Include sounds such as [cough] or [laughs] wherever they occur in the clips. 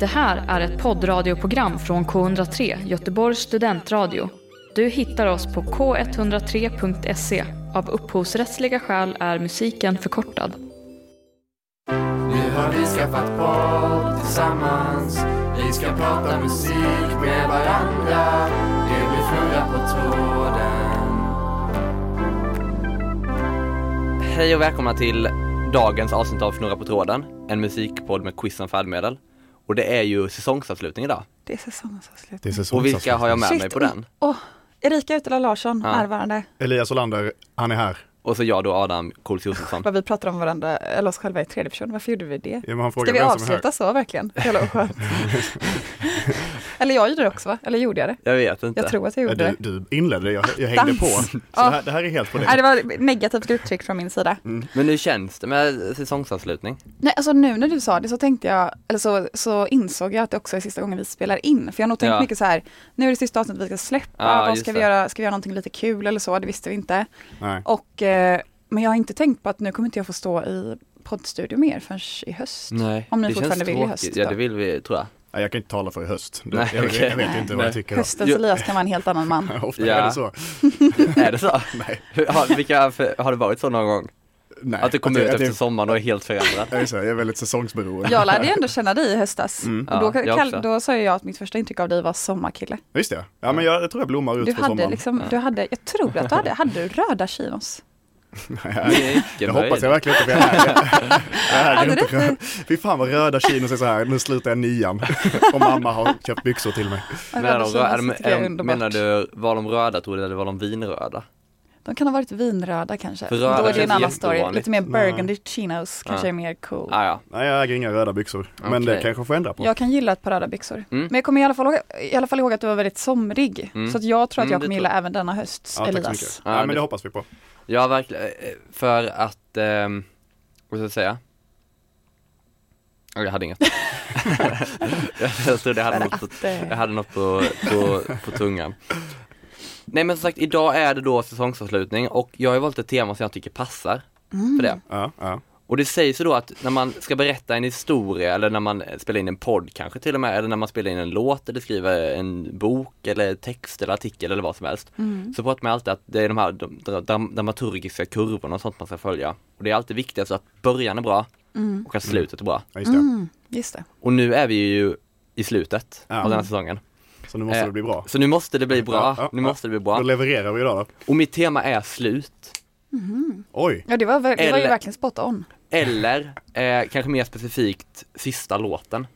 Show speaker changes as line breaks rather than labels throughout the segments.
Det här är ett poddradioprogram från K103, Göteborgs studentradio. Du hittar oss på k103.se. Av upphovsrättsliga skäl är musiken förkortad.
Nu har vi skaffat podd tillsammans Vi ska prata musik med varandra Det blir fnurra på tråden
Hej och välkomna till dagens avsnitt av Fnurra på tråden, en musikpodd med quiz som färdmedel. Och det är ju säsongsavslutning idag.
Det är säsongsavslutning.
Det är
Mm. Och vilka har jag med
Shit.
mig på den?
Åh, Erika Utela Larsson
Ja.
närvarande.
Elias Olander, han är här.
Och så jag då, Adam Cools Josefsson.
Vad vi pratar om varandra, eller oss själva i tredje person. Varför gjorde vi det?
Ja, men han frågar
Ska vi
vem som är här.
avsluta så verkligen? Jävla
[laughs]
oskönt. eller jag gjorde det också va? Eller gjorde jag det?
Jag vet inte.
Jag tror att jag
Ja,
gjorde det.
Du, du inledde, jag, jag hängde på.
Dans.
Så
Ja.
här, det här är helt på
Nej,
dig.
det var negativt uttryck från min sida.
Mm.
Men hur känns det med säsongsavslutning?
Nej, alltså nu när du sa det så tänkte jag, eller så, så insåg jag att det också är sista gången vi spelar in. För jag har nog tänkt
Ja.
mycket så här, nu är det sista avsnittet vi ska släppa,
Ja,
vad
just
ska vi
det.
göra, ska vi göra någonting lite kul eller så, det visste vi inte.
Nej.
Och, eh, men jag har inte tänkt på att nu kommer inte jag få stå i poddstudio mer förrän i höst.
Nej,
Om ni
det
fortfarande
känns
vill i
tråkigt.
höst
Ja,
då.
det vill vi, tror jag.
Nej, Jag kan inte tala för i höst. Du,
Nej,
jag,
okej.
jag vet inte vad jag tycker då.
Höstens
Jo.
Elias kan vara en helt annan man.
Ofta
Ja.
är det så.
är det så?
[laughs] Nej.
Hur- Har, vilka, för- har det varit så någon gång?
Nej.
Att du kommer ut
jag-
efter
jag-
sommaren och är helt
[laughs]
förändrad?
jag är så här, Jag är väldigt säsongsberoende.
Jag lärde ju ändå känna dig i höstas. och då,
Ja, jag
kall-
också.
då sa ju jag att mitt första intryck av dig var sommarkille.
Visst ja. Ja men jag, jag tror jag blommar ut
Du
på
hade
sommaren. [laughs]
liksom, du hade, jag tror att du hade, hade du röda chinos?
Nej,
Mycket
jag
nöjd.
hoppas jag verkligen inte för jag äger-
[laughs]
jag äger
Hade
inte röda. Fy fan vad röda chinos är så här, nu slutar jag nian. Och mamma har köpt byxor till mig.
[laughs] Men är de, rö- är de,
chinos tycker jag är
är de,
underbart.
menar du, var de röda tror du eller var de vinröda?
Oh.
De kan ha varit vinröda kanske.
För röda
då är det en
känns
annan story.
jätteovanligt.
Lite mer burgundy chinos kanske är mer cool.
Ah, ja,
Nej jag äger inga röda byxor. Men
Okej.
det kanske får ändra på.
Jag kan gilla ett par röda byxor.
Mm.
Men jag kommer i alla, fall, ihåg- i alla fall ihåg att du var väldigt somrig. Så att jag tror att
Mm,
jag
det
kommer
tror jag.
gilla även denna hösts
Ja, tack så mycket.
Elias.
Ja,
Ja,
det-
men det hoppas vi på.
Ja, verkligen. Eh, För att, ehm, vad ska jag säga? Oj, Jag
[laughs]
hade inget. jag trodde jag hade något på,
Att, eh,
jag hade något på, på, på tungan. Nej men som sagt, idag är det då säsongsavslutning och jag har ju valt ett tema som jag tycker passar
Mm.
för det.
Ja, ja.
Och det sägs ju då att när man ska berätta en historia eller när man spelar in en podd kanske till och med, eller när man spelar in en låt eller skriver en bok eller text eller artikel eller vad som helst. Så pratar man alltid att det är de här de- de- de- dramaturgiska kurvorna och sånt man ska följa. Och det är alltid viktigast att början är bra och att slutet är bra.
Ja, just det.
Mm. Just det.
Och nu är vi ju i slutet
Ja.
av den här säsongen.
Så nu måste
Eh,
det bli bra.
Så nu måste det bli bra,
Ja, ja,
nu
ja.
måste det bli
Då
bra.
levererar vi idag då.
Och mitt tema är slut.
Oj,
Ja, det var, väl- det var ju
Eller-
verkligen spot on.
Eller eh, kanske mer specifikt sista låten.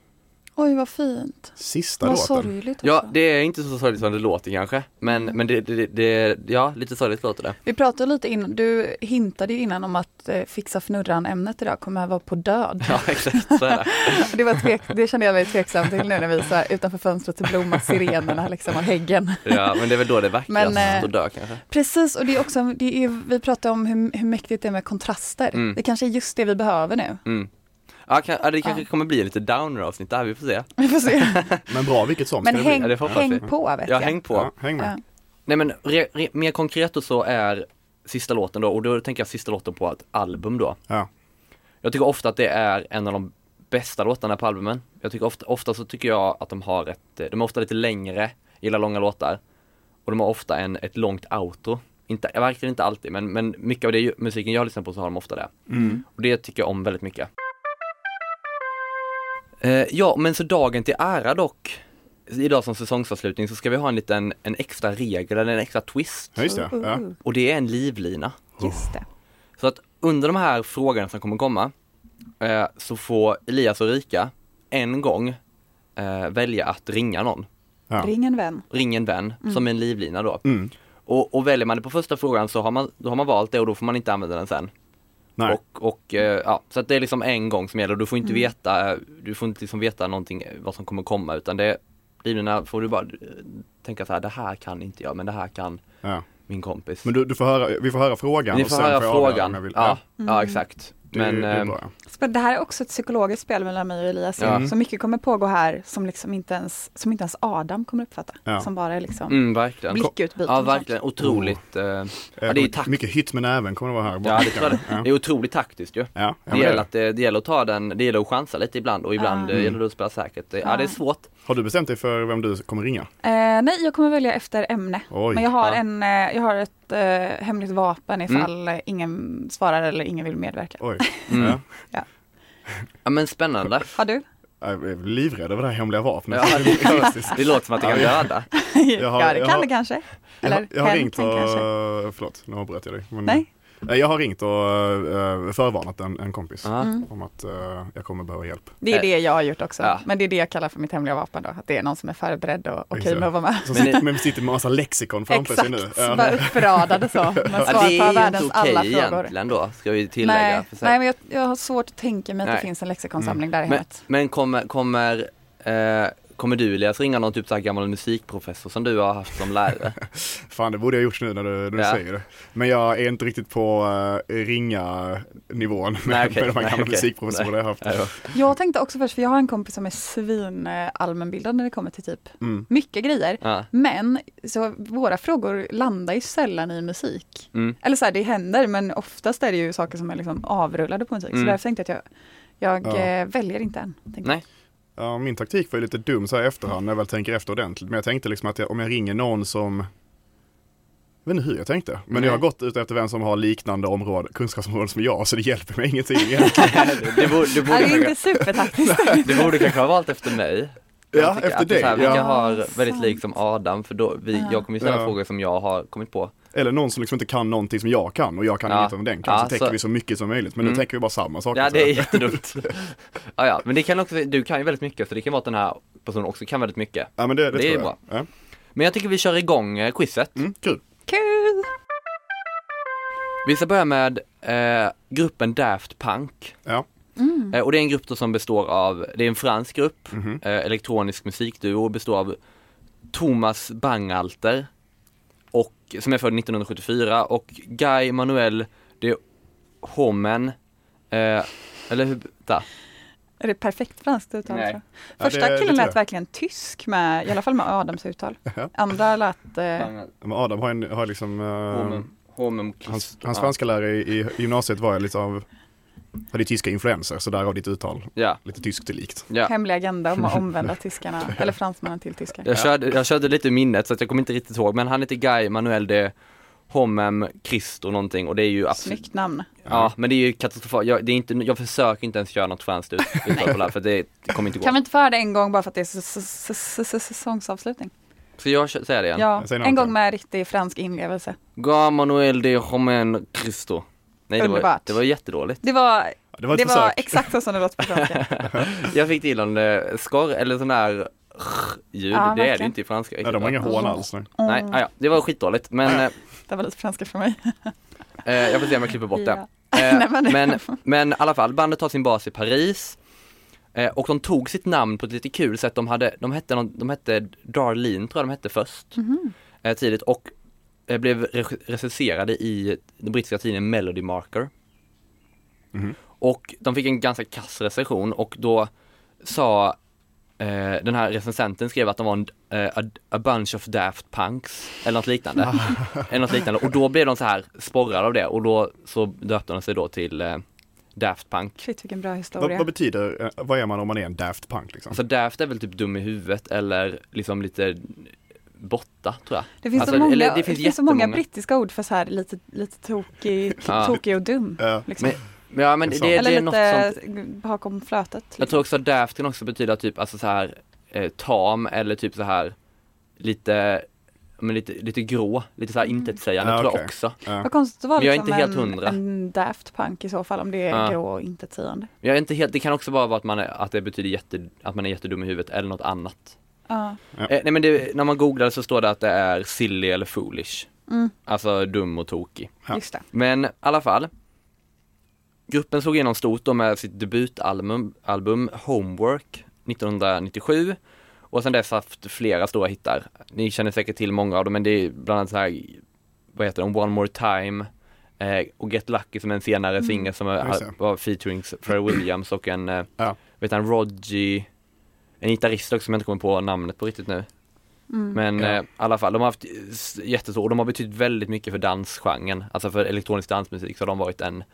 Oj, vad fint.
sista
Vad
låten.
sorgligt också.
Ja, det är inte så sorgligt som det låter kanske, men, men det, det, det, ja, lite sorgligt låter det.
Vi pratade lite innan, du hintade ju innan om att eh, fixa fnurran-ämnet idag kommer att vara på död.
Ja, exakt så är det.
[laughs] Det, var tvek, det kände jag mig tveksam till nu när vi så här, utanför fönstret så blommar sirenerna liksom av häggen.
[laughs] Ja, men det är väl då det
Men,
vackrast
eh,
att dö kanske.
Precis, och det är också, det är, vi pratade om hur, hur mäktigt det är med kontraster.
Mm.
Det kanske är just det vi behöver nu.
Ja, kan, ja, det kanske kommer bli lite downer-avsnitt där, vi får se.
Vi får se.
Men bra vilket som.
Men
ska det bli.
häng,
Ja, det får hoppas
häng
vi.
på vet
Jag
jag.
har hängt på.
Ja, häng med.
Ja.
Nej men re, re, mer konkret och så är sista låten då, och då tänker jag sista låten på ett album då.
Ja.
Jag tycker ofta att det är en av de bästa låtarna på albumen. Jag tycker ofta, ofta så tycker jag att de har ett, eh, de är ofta lite längre, gillar långa låtar. Och de har ofta en, ett långt outro. Inte, verkligen inte alltid, men, men mycket av det ju- musiken jag lyssnar på så har de ofta det. Och det tycker jag om väldigt mycket. Eh, ja, men så dagen till ära dock. Idag som säsongsavslutning så ska vi ha en liten, en extra regel, eller en extra twist.
Ja, just det. Ja.
Uh,
Och det är en livlina.
Just det.
Så att under de här frågorna som kommer komma eh, så får Elias och Rika en gång eh, välja att ringa någon.
Ja.
Ring en vän.
Ring en vän som en livlina då.
Mm.
Och, och väljer man det på första frågan så har man, då har man valt det och då får man inte använda den sen.
Nej.
Och, och eh, ja, så att det är liksom en gång som gäller. Du får inte veta, eh, du får inte liksom veta någonting eh, vad som kommer komma utan det, livlinorna får du bara eh, tänka så här, det här kan inte jag men det här kan
ja.
min kompis.
Men du, du får höra, vi får höra frågan.
Ni
och
får
sen
höra
jag avgöra om
frågan.
jag vill- Mm.
ja, ja, exakt.
Det, är-
Men,
det är
eh,
bra. ja.
Men det här är också ett psykologiskt spel mellan mig och Elias. ju.
Ja.
Så mycket kommer pågå här som, liksom inte, ens, som inte ens Adam kommer uppfatta.
Ja.
Som bara är liksom
Mm, verkligen.
blickutbyten.
Ja,
och sånt.
verkligen. Otroligt. eh,
Eh,
ja, det är ju takt.
Mycket hit med näven kommer det vara här.
Ja, det tror jag det.
Ja.
Det är otroligt taktiskt ju.
Ja, ja,
Det
men det är
gäller,
det.
att, eh, det gäller att ta den, det gäller att chansa lite ibland och ibland
Ah.
eh, gäller det att spela säkert. Eh, Ja, det är svårt.
Har du bestämt dig för vem du kommer ringa?
Eh, nej, jag kommer välja efter ämne.
Oj.
Men jag har,
Ja.
en, eh, jag har ett eh, hemligt vapen ifall eh, ingen svarar eller ingen vill medverka.
Oj.
Mm.
Ja.
[laughs] Ja men spännande.
Har du?
Jag är livrädd över det här hemliga vapnet.
Ja.
Det är fantastiskt.
Det låter som att det kan döda.
Jag
[laughs]
har-
ja, det
jag
kan
har-
det kanske.
Jag har,
Eller
jag har
hen
ringt och, Mm.
kan kanske.
förlåt nu avbröt jag dig. Men,
Nej.
Eh, Jag har ringt och eh, förvarnat en, en kompis
Ja.
Mm.
om att eh, jag kommer behöva hjälp.
Det är
Eh,
det jag har gjort också.
ja.
Men det är det jag kallar för mitt hemliga vapen då. Att det är någon som är förberedd och okej
Just det.
med att vara med.
Som
Men
sitter, men sitter med massa lexikon framför sig nu.
Exakt,
Ja.
bara uppradade
[laughs]
så. Man
Ja, det
svarar på
är inte
världens alla
okej
frågor.
egentligen då, ska vi tillägga.
Nej,
för sig.
nej, men jag, jag har svårt att tänka mig att
Nej. Mm.
det finns en lexikonsamling där i
Men,
hemmet.
men kommer, kommer, eh, kommer du Elias ringa någon typ så här gammal musikprofessor som du har haft som
[laughs]
lärare?
Fan det borde jag gjort nu när du, när du
Ja.
säger det. Men jag är inte riktigt på eh, ringa nivån med,
Nej, okej.
med de här
Nej,
gamla
okej.
musikprofessorerna jag har haft.
Ja.
Jag tänkte också först, för jag har en kompis som är svin eh, allmänbildad när det kommer till typ
Mm.
mycket grejer.
Ja.
Men så våra frågor landar ju sällan i musik.
Mm.
Eller så här, det händer, men oftast är det ju saker som är liksom avrullade på musik.
Mm.
Så därför tänkte jag att jag, jag
Ja.
eh, väljer inte än. tänkte jag.
Nej,
Ja, min taktik var ju lite dum så här i efterhand när jag väl tänker efter ordentligt. Men jag tänkte liksom att jag, om jag ringer någon som jag vet inte hur jag tänkte. Men jag har gått ut efter vem som har liknande område, kunskapsområden som jag, så det hjälper mig ingenting egentligen.
du borde, du borde,
Ja, det är
kanske,
inte supertaktiskt.
[laughs]
[laughs]
du borde kanske ha valt efter mig. Jag
ja,
tycker
efter
att det är
dig.
så här, Vilka
Ja.
har väldigt
Sant.
lik som Adam? För då, vi, jag kommer ju ställa
Ja.
frågor som jag har kommit på.
Eller någon som liksom inte kan någonting som jag kan och jag kan
Ja.
inget om den kan.
Ja,
så
så-
tänker vi så mycket som möjligt. Men
Mm.
nu tänker vi bara samma saker.
Ja
så
det är
här.
jättedumt. ja, ja, men det kan också, du kan ju väldigt mycket så det kan vara att den här personen också kan väldigt mycket.
ja men det, det,
Det är
tror
ju
jag.
bra.
Ja.
Men jag tycker vi kör igång eh, quizet.
Mm, kul.
Kul!
Vi ska börja med eh, gruppen Daft Punk.
Ja.
Eh, och det är en grupp då som består av, det är en fransk grupp,
Mhm.
eh, elektronisk musikduo och består av Thomas Bangalter, och, som är född 1974 och Guy Manuel de Hommen, eh, eller hur, där.
Är det perfekt franskt uttal?
Nej.
tror
Ja,
jag? Första
det- det
killen
tror jag.
lät verkligen tysk, med, i alla fall med Adams uttal.
[laughs] Ja.
Andra lät... Eh,
Men Adam har, en, har liksom, eh,
Homem- Homem
hans,
Christ-
hans
Oh, ja.
franska lärare i, i gymnasiet var lite av, hade tyska influenser så därav ditt uttal.
Ja,
Lite tyskt likt.
ja.
Hemlig agenda om att omvända
[laughs]
tyskarna, eller fransmännen till tyskar.
Jag, körde, jag körde lite ur minnet så att jag kommer inte riktigt ihåg men han heter Guy Manuel de Homem Christo någonting och det är ju absolut
Snyggt namn.
Mm.
Ja men det är ju katastrofalt, jag, det är inte, jag försöker inte ens göra något franskt ut, uttal på det här, för det kommer inte gå.
Kan vi inte få höra det en gång bara för att det är s- s- s- s- säsongsavslutning?
Så jag kö- säger det igen.
Ja,
Jag säger
en
något.
gång med riktig fransk inlevelse.
Guy Manuel de Homem Christo. Nej det var,
Underbart.
det var jättedåligt.
Det var,
Ja, Det var ett
det
försök.
var exakt så som det låter på
[laughs]
franska.
Jag fick till en eh, skorr eller sån där ljud, det
Ja,
är det
verkligen.
inte i franska.
Nej, de har inga hån alls. Nej.
Nej, ah, ja, det var skitdåligt
Mm.
men eh,
Det var lite franska för mig.
Eh, jag får se om jag klipper bort det.
Ja. [laughs]
Eh,
Nej, men-
men, men i alla fall, bandet har sin bas i Paris. Eh, och de tog sitt namn på ett lite kul sätt. De, hade, de, hette, någon, de hette Darlene, tror jag de hette först.
Mhm.
Eh, tidigt och eh, blev reg- recenserade i den brittiska tidningen Melody Marker. Och de fick en ganska kass recension och då sa eh, den här recensenten skrev att de var en, eh, a, a bunch of daft punks eller något liknande. eller något liknande. Och då blev de så här sporrade av det och då så döpte de sig då till eh, Daft Punk.
Shit vilken bra
Vad,
historia.
vad betyder, eh, vad är man om man är en Daft Punk liksom?
Alltså Daft är väl typ dum i huvudet eller liksom lite borta tror jag.
Det finns,
alltså,
så, många,
eller
det finns, så många
jättemånga.
brittiska ord för så här lite, lite tokig,
Ja.
tokig och dum.
Ja.
Liksom.
Men, ja men det, det,
Eller
är något sånt.
lite bakom flötet. liksom.
Jag tror också att daft kan också betyda typ alltså så här eh, tam eller typ så här lite, men lite, lite grå, lite så här
Mm.
intetsägande
Ja,
tror jag
okej.
också.
Ja.
Vad konstigt att vara
Men jag är
liksom
inte helt
en,
hundra.
en Daft Punk i så fall om det är
Ja.
grå och intetsägande.
Men Jag är inte helt, det kan också bara vara att man är, att det betyder jätte, att man är jättedum i huvudet eller något annat.
Ja.
Ja.
Eh, nej men det, när man googlar så står det att det är silly eller foolish. Alltså dum och tokig.
Just det.
Men i alla fall. Gruppen slog igenom stort då med sitt debutalbum album Homework 1997 och sedan dess haft flera stora hittar. Ni känner säkert till många av dem men det är bland annat så här, vad heter de, One More Time, Eh, och Get Lucky som en senare singel som
Mm, Just det.
var, var featuring Pharrell Williams och en, eh,
Ja.
vet han, Rodgy, en gitarrist också som jag inte kommer på namnet på riktigt nu. Men
Ja.
eh, i alla fall, de har haft eh, s- jättestor, och de har betytt väldigt mycket för dansgenren, alltså för elektronisk dansmusik så har de varit en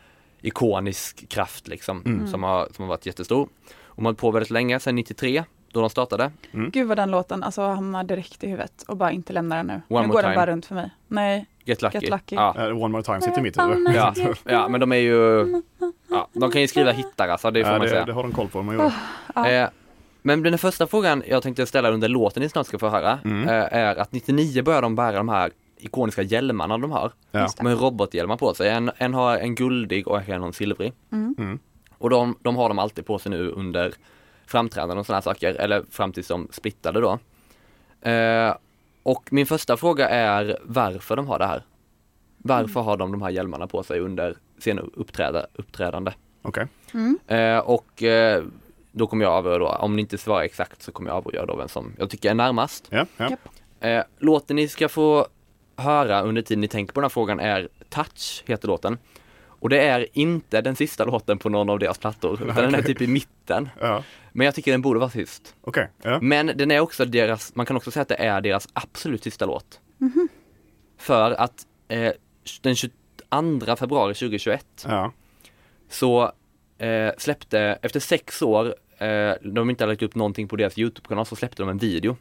ikonisk kraft liksom, som, har, som har varit jättestor. Och de har hållit på väldigt länge, sedan 93, då de startade.
Gud vad den låten alltså hamnar direkt i huvudet och bara inte lämnar den nu.
One
nu
more
går den
time.
bara runt för mig. Nej,
Get Lucky.
Get Lucky.
Ja.
Eh, One more time sitter i mitt huvud. [laughs]
Ja, ja, men de är ju, ja, de kan ju skriva hittar alltså, det får
Ja,
man
det,
säga.
det har de koll på. Man gjorde.
Eh, men den första frågan jag tänkte ställa under låten ni snart ska få höra
Mm.
eh, är att 99 börjar de bära de här ikoniska hjälmarna de har.
Ja.
De har robothjälmar på sig. En, en har en guldig och en har en silvrig.
Mm.
Och de, de har de alltid på sig nu under framträdanden och sådana saker, eller fram tills de splittade då. Eh, och min första fråga är varför de har det här. Varför har de de här hjälmarna på sig under senare uppträda, uppträdande?
Okej.
Eh, och eh, då kommer jag avgöra då, om ni inte svarar exakt så kommer jag avgöra då vem som jag tycker är närmast.
Ja, ja.
Japp.
Eh, låten ni ska få höra under tiden ni tänker på den här frågan är Touch, heter låten. Och det är inte den sista låten på någon av deras plattor, utan den är typ i mitten.
Ja.
Men jag tycker den borde vara sist.
Okej. Ja.
Men den är också deras, man kan också säga att det är deras absolut sista låt. För att eh, den 22 februari 2021
Ja.
så eh, släppte, efter sex år, eh, de inte hade lagt upp någonting på deras YouTube-kanal, så släppte de en video.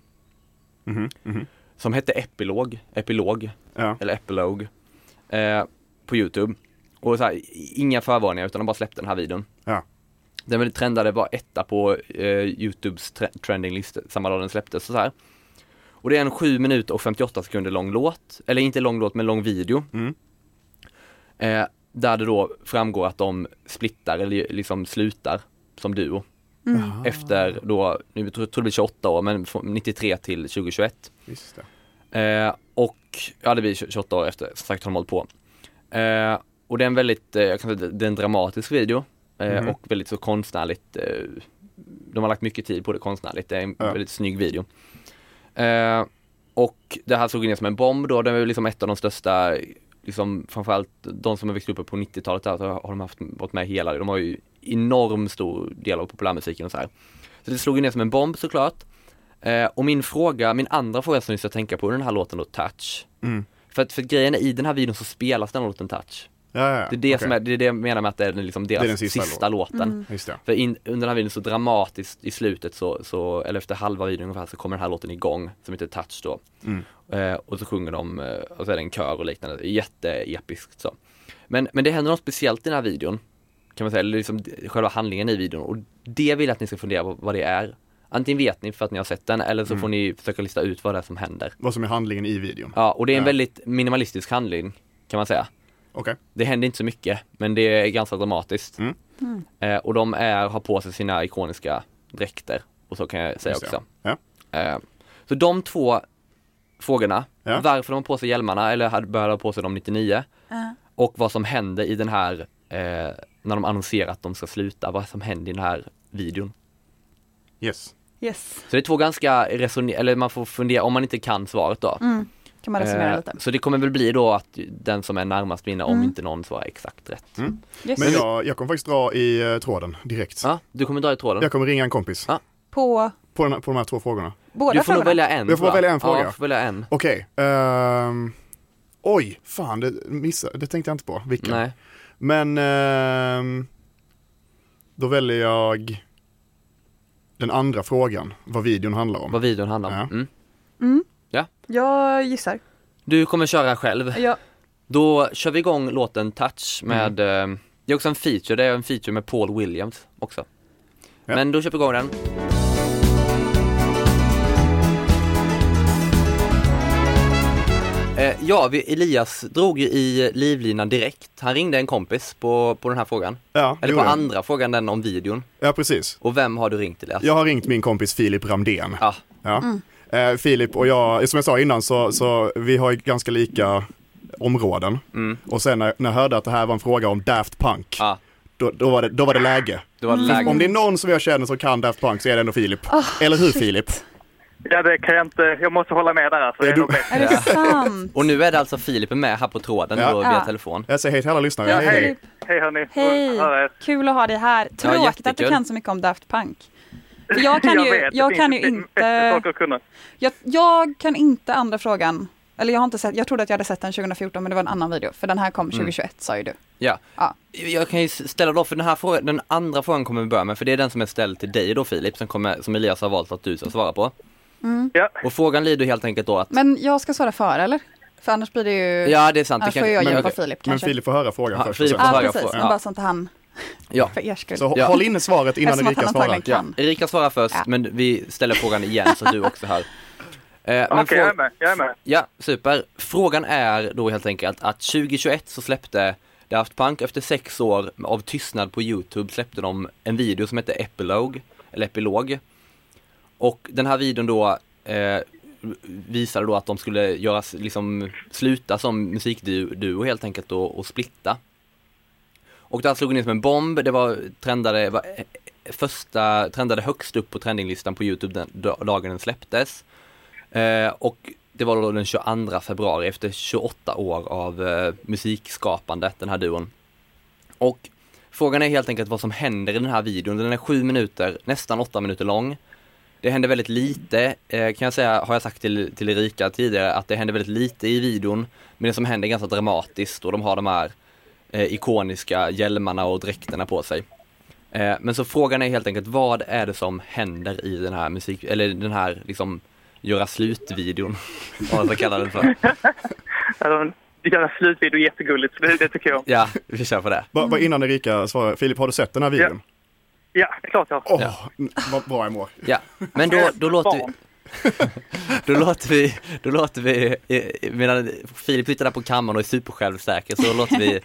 Mhm, mhm.
Som hette Epilog, Epilog,
Ja.
eller Epilog, eh, på YouTube. Och så här, i- inga förvarningar utan de bara släppte den här videon.
Ja.
Den väl trendade var etta på eh, YouTubes tre- trendinglista samma dag den släpptes. Så här. Och det är en 7 minuter och 58 sekunder lång låt, eller inte lång låt men lång video.
Mm.
Eh, där det då framgår att de splittar eller ju- liksom slutar som duo. Efter då, nu tror jag det blir 28 år, men från 93 till 2021.
Just det.
Eh, och, ja det blir 28 år efter, som sagt har de hållit på. Eh, och det är en väldigt, eh, jag kan säga att det är en dramatisk video. Eh,
Mhm.
Och väldigt så konstnärligt, eh, de har lagt mycket tid på det konstnärligt, det är en
Ja.
väldigt snygg video. Eh, och det här slog ner som en bomb då, det var ju liksom ett av de största, liksom framförallt de som har växt upp på 90-talet där, så har de haft, varit med hela, de har ju enorm stor del av populärmusiken och så här. Så det slog ju ner som en bomb såklart. Eh, och min fråga, min andra fråga som ni ska tänka på är den här låten då, Touch.
Mm.
För att, för att grejen är, i den här videon så spelas den här låten Touch.
Ja, ja, ja.
Det är det
Okej.
som är, det är det jag menar med att det är liksom deras
Det är den sista
sista, låten.
Just det.
För in, under den här videon så dramatiskt i slutet så, så, eller efter halva videon ungefär så kommer den här låten igång som heter Touch då.
Mm.
Eh, och så sjunger de, eh, och så är det en kör och liknande, jätteepiskt så. Men, men det händer något speciellt i den här videon, kan man säga, eller liksom d- själva handlingen i videon och det vill jag att ni ska fundera på vad det är. Antingen vet ni för att ni har sett den eller
Mm.
så får ni försöka lista ut vad det är som händer.
Vad som är handlingen i videon.
Ja, och det är en
Ja.
väldigt minimalistisk handling kan man säga.
Okej.
Det händer inte så mycket, men det är ganska dramatiskt.
Mm.
Eh, och de är, har på sig sina ikoniska dräkter. Och så kan jag säga
Just det.
också.
Ja.
Eh, så de två frågorna,
Ja.
varför de har på sig hjälmarna, eller hade- började ha på sig de 99.
Ja.
Och vad som hände i den här, eh, när de annonserar att de ska sluta, vad som hände i den här videon.
Yes.
yes.
Så det är två ganska resoner- eller man får fundera, om man inte kan svaret då.
Mm. Kan man resonera
Eh,
lite. Mm.
så det kommer väl bli då att den som är närmast vinner om inte någon svarar exakt rätt.
Yes.
Men jag, jag kommer faktiskt dra i eh, tråden direkt.
Ja, du kommer dra i tråden.
Jag kommer ringa en kompis
Ja.
På
på, den här, på de här två frågorna.
båda
Du får nog
frågorna?
välja en.
Jag får
tror
välja en fråga.
Ja, du får välja en.
Okej. ehm, oj, fan, det, missade, det tänkte jag inte på. Vilken?
Nej.
Men ehm, då väljer jag den andra frågan, vad videon handlar om.
Vad videon handlar om.
Ja.
Mm.
Jag gissar.
Du kommer köra själv.
Jag,
Då kör vi igång låten Touch med,
Mm.
eh, det är också en feature, det är en feature med Paul Williams också.
Ja.
Men då kör vi igång den. Eh, Ja, vi, Elias drog ju i livlinan direkt. Han ringde en kompis på, på den här frågan.
Ja, det
Eller på
gjorde jag.
andra frågan, den om videon.
ja, precis.
Och vem har du ringt Elias?
Jag har ringt min kompis Filip Ramdén.
Ja.
Ja. Eh, Filip och jag, som jag sa innan, så, så vi har ju ganska lika områden. Och sen när, när jag hörde att det här var en fråga om Daft Punk,
Mm. Ja.
då, då, var det, då var det läge.
Mm.
Det var läge.
Om det är någon som jag känner som kan Daft Punk så är det ändå Filip. Eller hur Filip?
Ja, det kan jag inte. Jag måste hålla med där alltså. Det är nog bäst.
Är det
[laughs]
sant?
Och nu är det alltså Filip med här på tråden
Ja.
då via
Ja.
telefon.
Jag säger hej till alla lyssnare.
Ja,
Hej,
hej.
hej.
Hej hörni.
[laughs] Hej!
Hör er.
Kul att ha dig här. Tråkigt att du
jättekul.
kan så mycket om Daft
[laughs]
Punk. För Jag kan ju,
vet,
jag
det
kan ju
finns bättre
inte,
saker att kunna.
jag, jag kan inte andra frågan. Eller jag har inte sett, jag trodde att jag hade sett den 2014 men det var en annan video. För den här
Mm.
kom 2021 sa ju du.
Ja.
Ja.
Jag kan ju ställa då, för den här frågan, den andra frågan kommer vi börja med, för det är den som är ställd till dig då Filip, som, kommer, som Elias har valt att du ska svara på.
Ja.
Och frågan lyder helt enkelt då att,
Men jag ska svara före eller? För annars blir det ju,
ja det är sant.
annars
det
får jag
men-
hjälpa
okej.
Filip
Men
kanske.
Filip får höra frågan
Ja,
först.
Filip
och
får
sen-
Ja
höra
precis,
frågan.
men bara så inte han,
Ja.
för er skull.
Så hå-
Ja.
håll inne svaret innan
Eftersom att
Erika
han
svarar.
antagligen kan.
Erika svarar först,
Ja.
men vi ställer frågan igen så att du också
[laughs]
hör. Eh, men
Okej,
frå-
jag är med. Jag är med.
Ja, super. Frågan är då helt enkelt att 2021 så släppte Daft Punk efter sex år av tystnad på Youtube släppte de en video som hette Epilogue, eller Epilog. Och den här videon då eh, visade då att de skulle göra, liksom sluta som musikduo helt enkelt då, och splitta. Och det här slog in som en bomb, det var trendade, var, eh, första, trendade högst upp på trendinglistan på Youtube den da- dagen den släpptes. Eh, och det var då den 22 februari efter 28 år av eh, musikskapande, den här duon. Och frågan är helt enkelt vad som händer i den här videon. Den är sju minuter, nästan åtta minuter lång. Det händer väldigt lite, eh, kan jag säga, har jag sagt till, till Erika tidigare, att det händer väldigt lite i videon. Men det som händer är ganska dramatiskt och de har de här eh, ikoniska hjälmarna och dräkterna på sig. Eh, men så frågan är helt enkelt, vad är det som händer i den här musik, eller den här liksom göra slut-videon, vad man ska kalla den för.
Ja, de- Göra slutvideo är jättegulligt, så det, det tycker jag om.
Ja, vi kör på det.
Bara, bara innan Erika svarar. Filip, har du sett den här videon?
Ja, det är klart jag har.
Åh, n- vad bra jag mår.
Ja, men då, då låter vi... Då låter vi, då låter vi, eh, medan Filip sitter där på kammaren och är supersjälvsäker, så låter vi eh,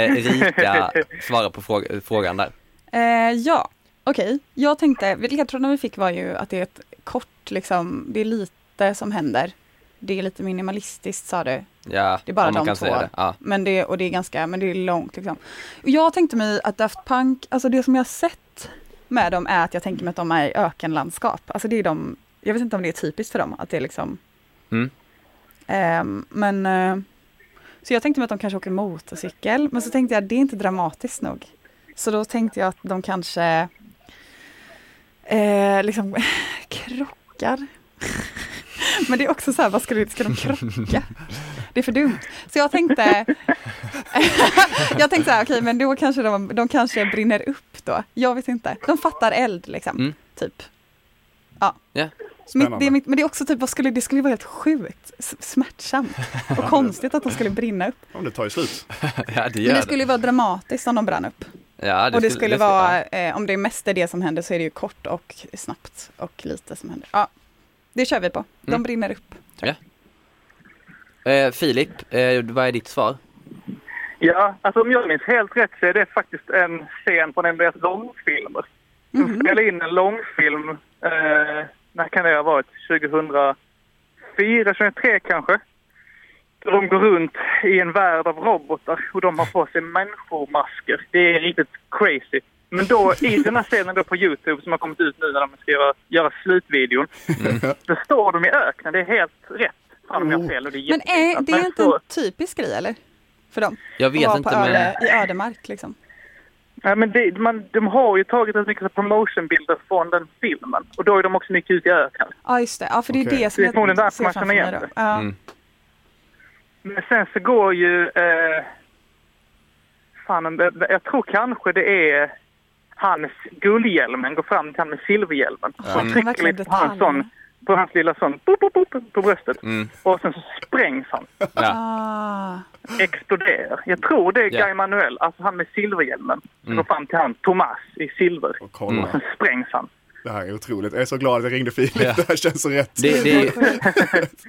Erika svara på fråga, frågan där.
Eh, ja, okej. Jag tänkte, ledtrådarna vi fick var ju att det är ett kort, liksom, det är lite som händer. Det är lite minimalistiskt sa du,
Ja,
Det är bara
om man
de
kan
två.
säga det. Ja.
men det, och det är ganska, men det är långt liksom. Och jag tänkte mig att Daft Punk, alltså det som jag har sett med dem är att jag tänker mig att de är i ökenlandskap. Alltså det är de, jag vet inte om det är typiskt för dem att det är liksom.
Mm.
Ehm, men, eh, så jag tänkte mig att de kanske åker motorcykel, men så tänkte jag det är inte dramatiskt nog. Så då tänkte jag att de kanske eh, liksom [laughs] krockar. [laughs] Men det är också så här, vad ska, du, ska de krocka? Det är för dumt. Så jag tänkte, [laughs] jag tänkte så här, okej men då kanske de, de kanske brinner upp då. Jag vet inte. De fattar eld liksom,
Mm.
typ. Ja.
Ja.
Mitt, det,
Spännande.
är mitt, men det är också typ, vad skulle, det skulle vara helt sjukt s- smärtsamt
[laughs]
och konstigt att de skulle brinna upp.
Om det tar ju slut.
ja, det
Men
gör
det
det.
skulle ju vara dramatiskt om de brann upp.
ja,
och det skulle vara, eh, om det är mest är det som händer så är det ju kort och snabbt och lite som händer. Ja, det kör vi på. De
Mm.
brinner upp.
ja. Eh, Filip, eh, vad är ditt svar?
Ja, alltså om jag minns helt rätt så är det faktiskt en scen från en av deras långfilmer. De
Mhm.
spelade in en långfilm, eh, när kan det ha varit? 2004, 2003 kanske? Där De går runt i en värld av robotar och de har på sig människomasker. Det är riktigt crazy. Men då i den här scenen då på Youtube som har kommit ut nu när de ska göra, göra slutvideon.
Mm.
Då står de i öknen, det är helt rätt. Fan om jag har fel och det är
Oh. Men är,
jätteintressant.
det är inte
så-
en typisk grej eller? För dem?
Jag
att
vet
vara
inte
på
men...
öde, i ödemark liksom.
Ja, men det, man, de har ju tagit rätt mycket promotionbilder från den filmen. Och då är de också mycket ute i öknen.
Ja just det, ja för det är
Okej.
det som
Det är förmodligen
jag
därför
ser
man
framför
känner
mig
igen
då.
det.
Ja.
Mm.
Men sen så går ju... Eh, fan, jag, jag tror kanske det är hans guldhjälmen går fram till han med silverhjälmen.
Ja.
Mm.
Och trycker
Verkligen
lite på hans,
detaljerna.
sån, på hans lilla sån boop, boop, boop, på bröstet.
Mm.
Och sen så sprängs
[laughs]
han.
Ja.
Ah.
Exploderar. Jag tror det är
Ja.
Guy Manuel, alltså han med silverhjälmen.
Mm.
Går fram till han, Thomas i silver.
Och [laughs] kolla.
Sen sprängs han.
Det här är otroligt. Jag är så glad att jag ringde Filip.
Ja.
Det här känns så rätt.
Det, det, är ju,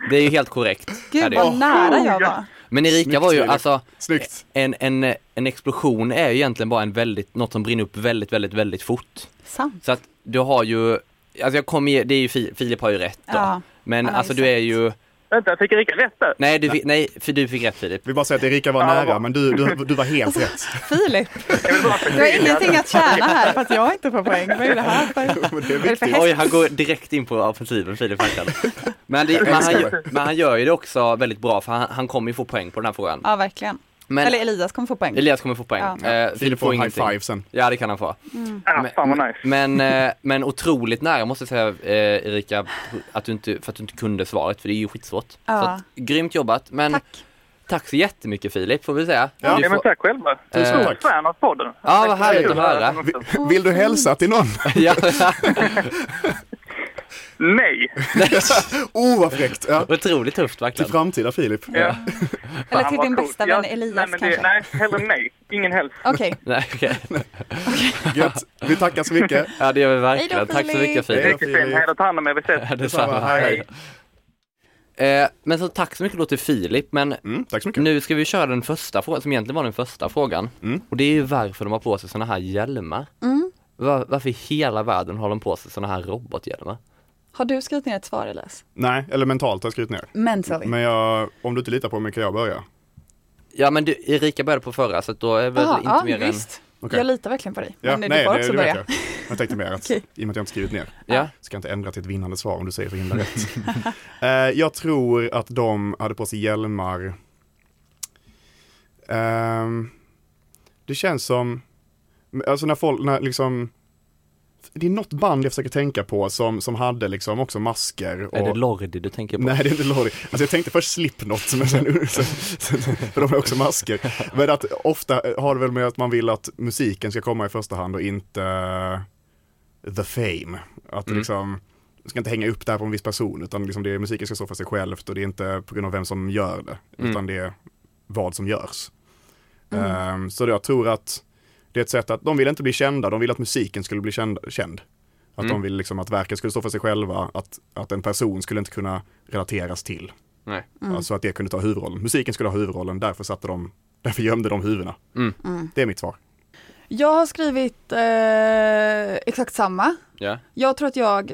det är ju helt korrekt. är
Gud
det ju.
vad nära jag
ja.
var.
Men Erika
Snyggt,
var ju
Filip.
alltså
Snyggt.
en, en, en explosion är ju egentligen bara en väldigt, något som brinner upp väldigt, väldigt, väldigt fort.
Sant.
Så att du har ju, alltså jag kommer ju, det är ju, Fi- Filip har ju rätt då.
Ja,
Men
han har
alltså
ju
du är
sagt.
ju,
Vänta, jag fick Erika rätt där?
Nej, du fick, nej, för du fick rätt Filip.
Vi bara säger att Erika var
Ja, vad
nära,
bra.
men du, du, du var [laughs] helt rätt.
Alltså, Filip,
Jag vill bara
du har
förtydliga
ingenting
det.
att tjäna här för att jag inte får poäng. Vad är det här för?
Men det är
Vad är det för
viktigt.
häst?
Oj, han går direkt in på offensiven, Filip Hackad.
[laughs]
Men, det, men, han, gör- men han gör ju det också väldigt bra, för han, han kommer ju få poäng på den här frågan.
Ja, verkligen.
Men
Eller Elias kommer få poäng.
Elias kommer få poäng.
Ja.
Eh,
Filip
Filip
får
får
en high
ingenting.
five sen.
Ja, det kan han få.
Ah, fan vad nice.
Men, eh, men otroligt nära måste jag säga eh, Erika, att du inte, för att du inte kunde svaret, för det är ju skitsvårt.
Ja.
Så att, grymt jobbat, men
Tack.
tack så jättemycket Filip, får vi säga.
Ja.
Du får,
Ja, men tack själva.
Eh,
Jag är ett fan av podden.
Ja, vad härligt att höra.
Vi- Vill du hälsa till [laughs] någon?
[laughs] ja,
Nej!
Oh vad fräckt! Ja.
otroligt tufft
Till
verkligen.
framtida Filip.
Ja.
Eller
Fan,
till
vad
din
coolt.
bästa
Ja,
vän Elias
nej, men det,
kanske.
Nej, hellre nej. Ingen helst.
Okej,
Nej, okej.
Gött. Vi tackar så mycket.
Ja, [laughs] det gör vi
Hej
verkligen.
då,
Tack så
Filip.
mycket
Hej
Filip.
då.
Riktigt fin. Hej då, ta hand om er. Vi ses.
Ja, detsamma.
Detsamma. Hej, hej.
Eh, men så tack så mycket då till Filip, men
Mm, tack så mycket.
nu ska vi köra den första frågan som egentligen var den första frågan.
Mm.
Och det är ju varför de har på sig sådana här hjälmar.
Mm.
Var, varför i hela världen har de på sig sådana här robothjälmar?
har du skrivit ner ett svar Elias?
Nej, eller mentalt har jag skrivit ner.
Mentally.
Men jag, om du inte litar på mig kan jag börja.
Ja men du, Erika började på förra så att då är väl
Jaha,
inte
ja,
mer än...
visst.
Okej.
Jag litar verkligen på dig.
Ja,
men
nej,
du får
det,
också
det vet
börja.
jag. Jag tänkte mer att
[laughs] Okej.
i och med att jag inte skrivit ner
Ja,
ska jag inte ändra till ett vinnande svar om du säger så himla
[laughs]
rätt. Eh, jag tror att de hade på sig hjälmar. Ehm, det känns som, alltså när folk, när liksom, det är något band jag försöker tänka på som, som hade liksom också masker. Och,
är det Lordi du tänker på?
Nej, det är inte Lordi. Alltså jag tänkte först Slipknot, men
[laughs]
sen, sen, sen, för de har också masker. Men att ofta har det väl med att man vill att musiken ska komma i första hand och inte eh, the fame. Att
Mm.
liksom, du ska inte hänga upp det här på en viss person, utan liksom det, är- musiken ska stå för sig självt och det är inte på grund av vem som gör det,
Mm.
utan det är vad som görs. Ehm, så jag tror att det är ett sätt att, de vill inte bli kända, de vill att musiken skulle bli känd. känd. Att
Mm.
de vill liksom att verken skulle stå för sig själva, att, att en person skulle inte kunna relateras till.
Nej.
Mm.
Alltså att det kunde ta huvudrollen. Musiken skulle ha huvudrollen, därför satte de, därför gömde de huvudena.
Mm.
Det är mitt svar.
Jag har skrivit eh, exakt samma.
Ja.
Jag tror att jag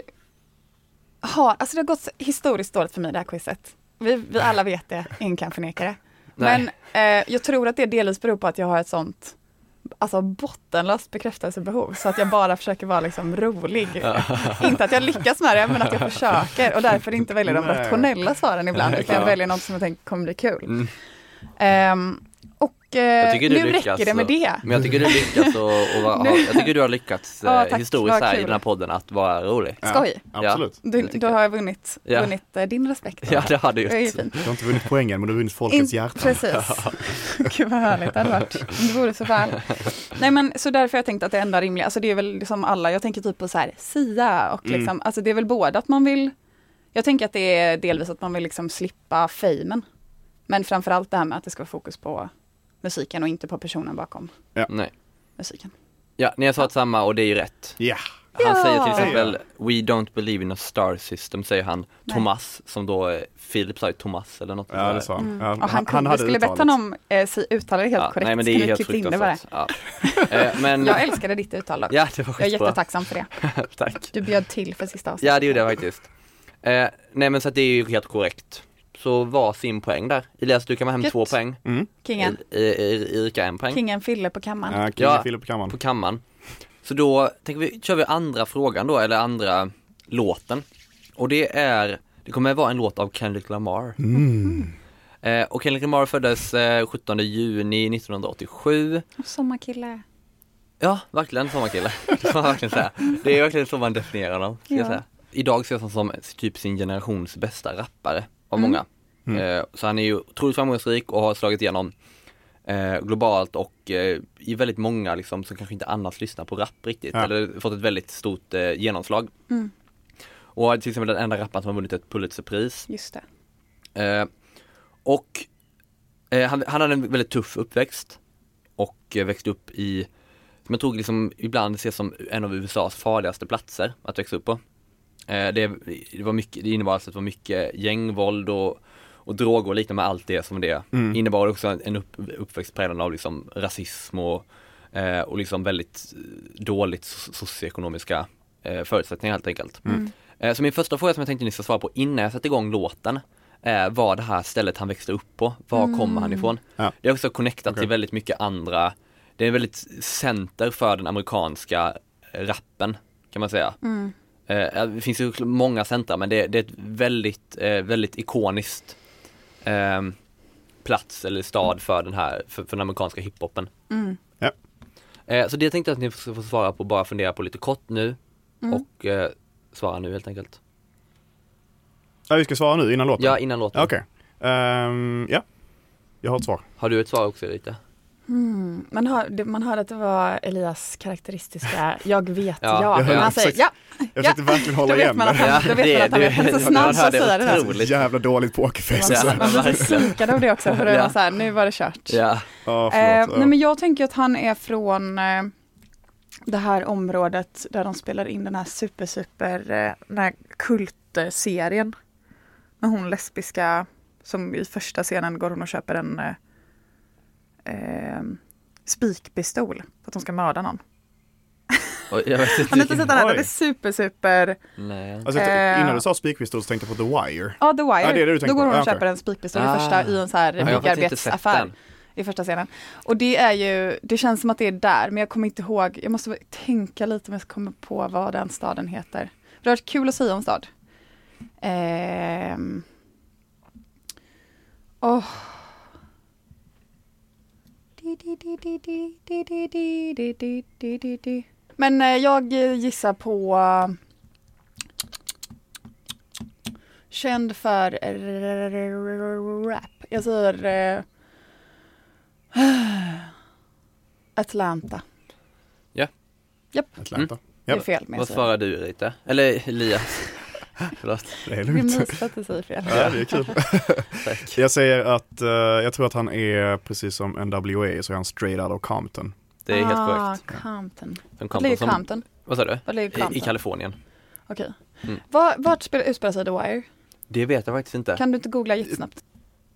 har, alltså det har gått så historiskt dåligt för mig det här quizet. Vi, vi alla vet det, ingen kan förneka det.
Nej.
Men eh, jag tror att det delvis beror på att jag har ett sånt Alltså bottenlöst bekräftelsebehov så att jag bara försöker vara liksom rolig. [laughs] inte att jag lyckas med det men att jag försöker och därför inte väljer de
Nej.
rationella svaren ibland utan jag
klart.
väljer något som jag tänker kommer bli kul.
Mm.
Ehm, och eh,
Jag tycker du
nu
lyckas
räcker det med
och-
det.
Men jag tycker du lyckas och, och var,
[laughs] Nu-
har, jag tycker du har lyckats eh,
Ja, tack.
historiskt
Vad
här i
kul.
den här podden att vara rolig.
Ja,
Skoj.
Absolut.
Du,
tycker
då har jag vunnit,
Ja.
vunnit eh, din
[laughs]
respekt.
Ja det har du
det är ju
gjort.
fint.
Du har inte vunnit poängen, men du har vunnit folkets
In-
hjärtan.
Precis. [laughs] Gud vad härligt det hade varit. Det vore så väl. Nej men så därför har jag tänkt att det enda rimliga, alltså det är väl som alla, jag tänker typ på så här Sia
Mm.
och liksom, alltså det är väl både att man vill, jag tänker att det är delvis att man vill liksom slippa famen. Men framförallt det här med att det ska vara fokus på musiken och inte på personen bakom
Nej.
musiken.
Ja, ni har svarat samma och det är ju rätt.
Ja,
Han
Ja.
säger till exempel We don't believe in a star system säger han
Nej.
Thomas som då eh, Filip sa ju Thomas eller något
ja det sa han. Ja,
Och Mm. han, kunde, vi skulle bett
uttalet.
honom eh, si- uttala det helt korrekt.
Nej men det är
Skulle
ju helt
klippt in det bara.
fruktansvärt. Ja. Eh, men,
[laughs] Jag älskade ditt uttal dock.
ja det var
Jag är
skitbra.
jättetacksam för det.
[laughs] Tack.
Du bjöd till för sista avsnittet.
Ja det gjorde jag faktiskt. Eh, nej men så att det är ju helt korrekt. Så var sin poäng där. Elias du kan vara hem
Gött. Mm.
två poäng.
Kingen.
Eh, eh, Erika en poäng.
Kingen Fille på kammaren.
Ja, King
Ja.
och Filip på kammaren.
på kammaren. Så då tänker vi, kör vi andra frågan då, eller andra låten. Och det är, det kommer att vara en låt av Kendrick Lamar. Eh, och Kendrick Lamar föddes eh, 17 juni 1987.
Sommarkille.
Ja, verkligen sommarkille. [laughs] Det får man verkligen säga. Det är verkligen så man definierar honom. Ska jag
Ja.
säga. Idag ses han som typ sin generations bästa rappare av många. Eh, så han är ju otroligt framgångsrik och har slagit igenom eh, globalt och eh, i väldigt många liksom som kanske inte annars lyssnar på rap riktigt.
Ja.
Eller fått ett väldigt stort eh, genomslag. Och till exempel den enda rapparen som har vunnit ett Pulitzerpris.
Just det.
Eh, och eh, han, han hade en väldigt tuff uppväxt och eh, växte upp i, som jag tror liksom ibland ses som en av USAs farligaste platser att växa upp på. Eh, det, det, var mycket, det innebar alltså att det var mycket gängvåld och, och droger och liknande med allt det som det
Mm.
innebar också en upp, uppväxt präglad av liksom rasism och, eh, och liksom väldigt eh, dåligt so- socioekonomiska
Mm.
eh, förutsättningar helt enkelt. Eh, så min första fråga som jag tänkte ni ska svara på innan jag sätter igång låten eh, var det här stället han växte upp på, var kommer han ifrån?
Ja.
Det är också connectat
Okej.
till väldigt mycket andra, det är väldigt center för den amerikanska eh, rappen kan man säga. Eh, det finns ju många centra men det, det är ett väldigt, eh, väldigt ikoniskt eh, plats eller stad för den här, för, för den amerikanska hiphopen.
Mm.
Ja.
Eh, så det tänkte jag att ni ska få svara på, bara fundera på lite kort nu
Mm.
och eh, svara nu helt enkelt.
Ja, vi ska svara nu innan låten?
Ja, innan låten.
Ja, Okej. Ehm, ja, jag har ett svar.
Har du ett svar också lite?
Man, hör, det- man hörde att det var Elias karaktäristiska jag vet
Ja,
ja.
jag
Men
hörde
han
också
säger ja,
Jag
Ja,
försökte verkligen hålla
då vet
igen
man
med
att
det.
han, då vet man att han är så snabb som säger det här.
otroligt.
Jävla dåligt pokerface.
Ja,
alltså.
Man blir så
verkligen.
synkad av det också, för det
Ja.
var så här, nu var det kört.
Ja,
Ja,
Eh,
förlåt.
nej men jag tänker att han är från eh, det här området där de spelar in den här super super eh, den här kultserien. Med hon lesbiska som i första scenen går hon och köper en eh, eh, spikpistol för att hon ska mörda någon.
Oj, jag vet
Har ni inte
inte.
sett den här? Den
Oj.
är super super,
Nej.
Alltså, jag tänkte-
eh,
innan du sa spikpistol så tänkte jag på The Wire.
ja The Wire.
Ja, det är det du tänker
Då går
på.
hon och
Ja, okej.
köper en spikpistol
Ah.
i första i en så här
jag har faktiskt inte sett
byggarbetsaffär.
den.
I första scenen. Och det är ju, det känns som att det är där men jag kommer inte ihåg, jag måste tänka lite om jag kommer på vad den staden heter. Det har varit kul att säga om stad. Ehm. Åh. Di, di, di, di, di, di, di, di, di, di, di, di, di. Men eh, jag gissar på eh, känd för rap. Jag säger eh, [sighs] Atlanta.
Mm.
Atlanta.
Det är
Ja.
fel men jag
Vad
säger.
svarar du Rita? Eller Elias? [laughs] Förlåt.
Det är
Det är
lugnt.
mysigt att du säger fel.
Ja, [laughs] det är
[laughs]
kul.
Tack.
Jag säger att eh, jag tror att han är precis som NWA så är han straight out of Compton.
Det är helt
ah,
korrekt.
Compton.
De kom
Vart
på
ligger
som-
Compton?
Vad sa du?
Vart ligger
I, I
Compton?
Kalifornien.
Okej.
Mm.
Var- Vart spelar- utspelar sig The Wire?
Det vet jag faktiskt inte.
Kan du inte googla jättesnabbt?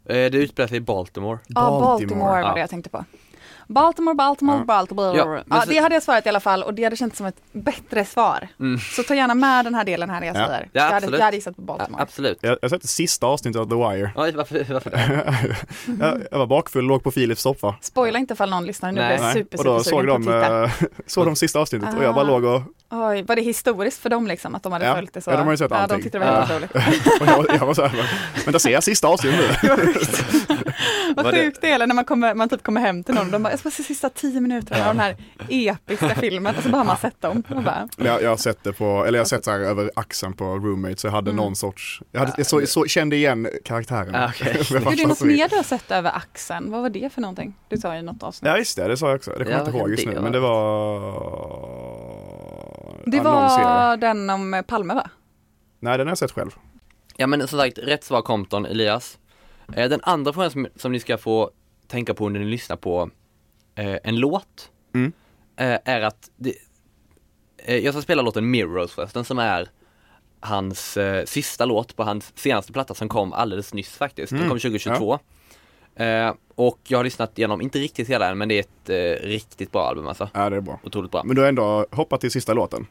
Eh, Det utspelar sig i Baltimore.
Ja, ah, Baltimore var
Ja.
det jag tänkte på. Baltimore, Baltimore,
Ja.
Baltimore.
Ja,
Ja,
men så-
det hade jag svarat i alla fall och det hade känts som ett bättre svar.
Mm.
Så ta gärna med den här delen här när jag
Ja.
säger.
Ja,
jag, hade,
absolut.
jag hade gissat på
Ja,
Baltimore.
absolut.
Jag, jag har sett det sista avsnittet av The Wire. [laughs]
Oj, varför, varför det?
jag, jag var bakfull, låg på Philips soffa.
Spoila inte ifall någon lyssnar nu
Nej.
blir jag super,
och då
super
såg
sugen på att
de,
titta.
eh, [laughs] såg de sista avsnittet och jag bara
Ah.
låg och, [laughs]
Oj, var det historiskt för dem liksom att de hade
Ja.
följt det så?
Ja, de har ju sett
ja, de
allting.
tyckte det var
Ja.
väldigt
[laughs]
roligt.
och jag, jag var så här, bara, vänta ser jag sista avsnittet
[laughs]
nu?
Var
Vad
det-
sjukt det är, eller när man, kommer, man typ kommer hem till någon och de bara, jag ska se sista tio minuterna av den här episka filmen och så bara har man sett dem. Och
[laughs]
bara,
Men Jag, jag har sett det på, eller jag har sett så här över axeln på roommate så jag hade
Mm.
någon sorts, jag, hade, jag så, så, kände igen karaktären.
Ah,
[laughs]
okej.
Med
Hur är det
värsta
något
svin.
mer du har sett över axeln? Vad var det för någonting? Du sa i något avsnitt.
Ja just det, det sa jag också. Det kommer
Ja,
jag inte
vad
ihåg
kan
just
det
nu.
vara?
Men det var...
det
Ja, någon serie.
var den om eh, Palme va?
Nej den har jag sett själv.
Ja men som sagt, rätt svar Compton, Elias. Eh, Den andra frågan som, som ni ska få tänka på när ni lyssnar på eh, en låt
Mm.
eh, är att det, eh, jag ska spela låten Mirrors förresten som är hans eh, sista låt på hans senaste platta som kom alldeles nyss faktiskt. Den kom 2022. Eh, och jag har lyssnat igenom, inte riktigt hela än men det är ett eh, riktigt bra album alltså.
Ja det är bra.
Otroligt bra.
Men du har ändå hoppat till sista låten.